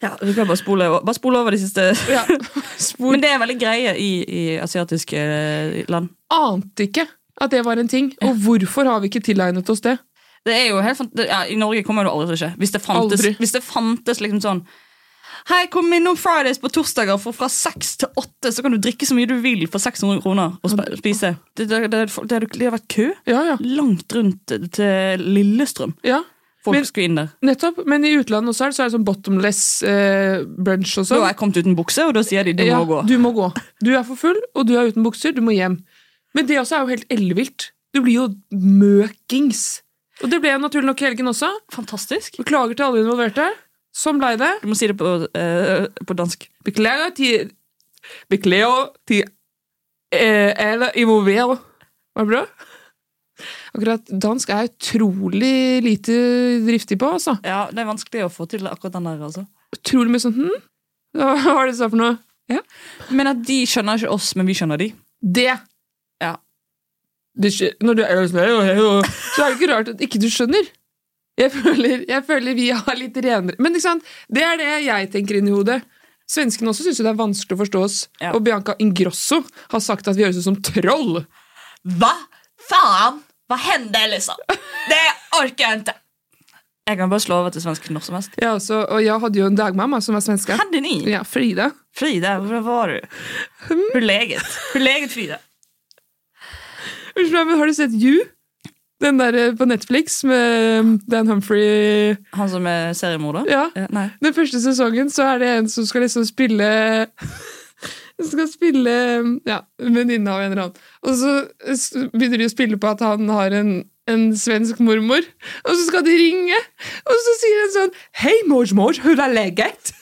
Speaker 3: Ja, du kan bare spole, over- bare spole over de siste
Speaker 2: Ja. Spor
Speaker 3: Men det er veldig greie i, i asiatiske eh, land.
Speaker 2: ante ikke at det var en ting. Og hvorfor har vi ikke tilegnet oss det?
Speaker 3: Det er jo helt fant det- ja, I Norge kommer det aldri til å skje. Hvis det fantes,
Speaker 2: Aldri.
Speaker 3: hvis det fantes liksom sånn Hei, kom innom Fridays på torsdager, for fra seks til åtte så kan du drikke så mye du vil for 600 kroner og sp- spise. Det, det, det, det, det, det har vært kø
Speaker 2: Ja, ja.
Speaker 3: langt rundt til Lillestrøm.
Speaker 2: ja.
Speaker 3: Folk
Speaker 2: Men-
Speaker 3: skulle inn der.
Speaker 2: Nettopp. Men i utlandet også er det, så er det sånn bottomless eh, brunch og
Speaker 3: Da
Speaker 2: sånn.
Speaker 3: har jeg kommet uten bukse, og da sier de du
Speaker 2: Ja,
Speaker 3: må gå.
Speaker 2: Du må gå. Du er for full, og du er uten bukser. Du må hjem. Men det også er jo helt ellevilt. Du blir jo møkings. Og det ble jeg naturlig nok i helgen også.
Speaker 3: Fantastisk.
Speaker 2: Beklager til alle involverte. Sånn blei det.
Speaker 3: Du må si det på, eh, på dansk.
Speaker 2: Beklager til Beklager til eh, alle involverte. Var det bra? Akkurat dansk er jeg utrolig lite driftig på, altså.
Speaker 3: Ja, Det er vanskelig å få til akkurat den der. altså.
Speaker 2: Utrolig mye sånn hm? Hva var det du sa for noe?
Speaker 3: Men at De skjønner ikke oss, men vi skjønner de.
Speaker 2: Det!
Speaker 3: Ja.
Speaker 2: Det skje- når du er så er det ikke rart at ikke du skjønner. Jeg føler, jeg føler vi har litt renere Men ikke sant? det er det jeg tenker inni hodet. Svenskene også syns det er vanskelig å forstå oss.
Speaker 3: Ja.
Speaker 2: Og Bianca Ingrosso har sagt at vi høres ut som troll.
Speaker 3: Hva faen? Hva hender, liksom? Det orker jeg ikke. Jeg kan bare slå over til svensk når som helst.
Speaker 2: Jeg, også, og jeg hadde jo en dagmamma som var svenske.
Speaker 3: Hade ni?
Speaker 2: Ja, Frida.
Speaker 3: Frida, var var du? Hur läget? Hur läget, Frida?
Speaker 2: Unnskyld meg, men har du sett You? Den der eh, på Netflix med um, Dan Humphrey
Speaker 3: Han som er seriemorder?
Speaker 2: Ja.
Speaker 3: Eh, Nei.
Speaker 2: Den første sesongen så er det en som skal liksom spille som skal spille ja, en venninne av en eller annen. Og så s- begynner de å spille på at han har en, en svensk mormor. Og så skal de ringe, og så sier han sånn Hei, morsmor, hvordan er leget?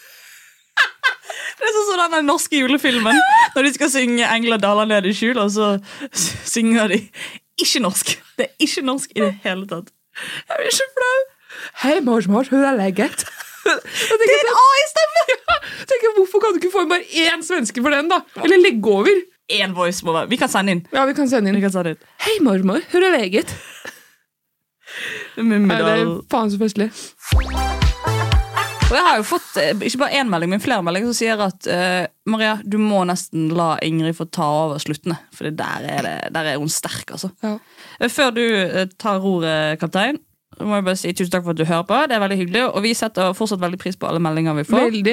Speaker 3: Det er sånn som den der norske julefilmen når de skal synge 'Engler daler ned i skjul', og så s- synger de ikke norsk. Det er ikke norsk i det hele tatt.
Speaker 2: Jeg blir så flau. Hei, morsmor, hvordan er leget? Det
Speaker 3: er en AI-stemme!
Speaker 2: Ja, tenker, hvorfor kan du ikke få inn bare én svenske for den, da? Eller legge over?
Speaker 3: Én voice må være Vi kan sende inn.
Speaker 2: Ja, vi kan sende
Speaker 3: Vi
Speaker 2: inn.
Speaker 3: kan sende inn.
Speaker 2: Hei, mormor, hvordan er leget? Nei, det er
Speaker 3: Mummedal.
Speaker 2: faen så festlig.
Speaker 3: Og jeg har jo fått eh, ikke bare én melding, men flere meldinger som sier at eh, Maria, du må nesten la Ingrid få ta over sluttene. For det der, er det, der er hun sterk, altså.
Speaker 2: Ja.
Speaker 3: Eh, Før du eh, tar ordet, kaptein, så må jeg bare si tusen takk for at du hører på. Det er veldig hyggelig, og vi setter fortsatt veldig pris på alle meldinger vi får.
Speaker 2: Veldig.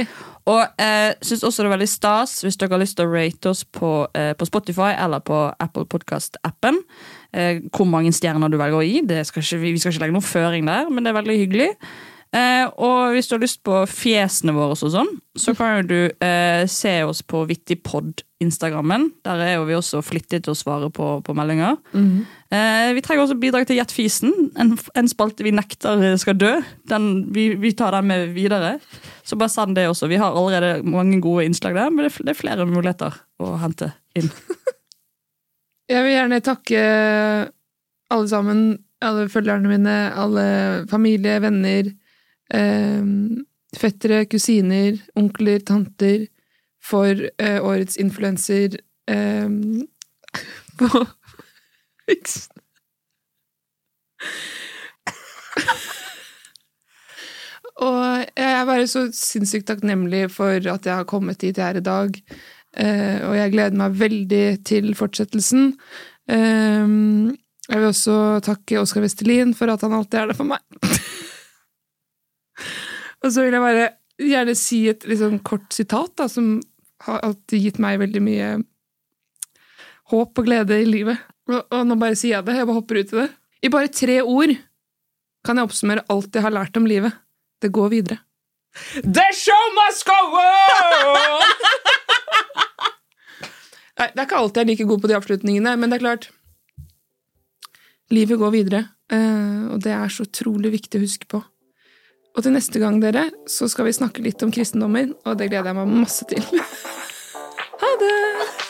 Speaker 3: Og eh, syns også det er veldig stas hvis dere har lyst til å rate oss på, eh, på Spotify eller på Apple Podcast-appen. Eh, hvor mange stjerner du velger å gi. Det skal ikke, vi vi skal ikke legge noen føring der, men det er veldig hyggelig. Eh, og hvis du har lyst på fjesene våre og sånn, så kan jo du eh, se oss på Vittipod-instagrammen. Der er jo vi også flittige til å svare på, på meldinger. Eh, vi trenger også bidrag til Gjett fisen. En, en spalte vi nekter eh, skal dø. Den, vi, vi tar den med videre. Så bare send det også. Vi har allerede mange gode innslag der, men det, er fl- det er flere muligheter å hente inn.
Speaker 2: Jeg vil gjerne takke alle sammen, alle følgerne mine, alle familie, venner, eh, fettere, kusiner, onkler, tanter, for eh, årets influenser eh, på Vixen. Og jeg er bare så sinnssykt takknemlig for at jeg har kommet dit jeg er i dag. Eh, og jeg gleder meg veldig til fortsettelsen. Eh, jeg vil også takke Oskar Vestelin for at han alltid er der for meg. og så vil jeg bare gjerne si liksom et litt sånn kort sitat, da, som har alltid gitt meg veldig mye håp og glede i livet. Og, og nå bare sier jeg det. Jeg bare hopper ut i det. I bare tre ord kan jeg oppsummere alt jeg har lært om livet. Det går videre. The show must go on! Nei, det er ikke alltid jeg er like god på de avslutningene, men det er klart Livet går videre, eh, og det er så utrolig viktig å huske på. Og til neste gang, dere, så skal vi snakke litt om kristendommen, og det gleder jeg meg masse til. Ha det!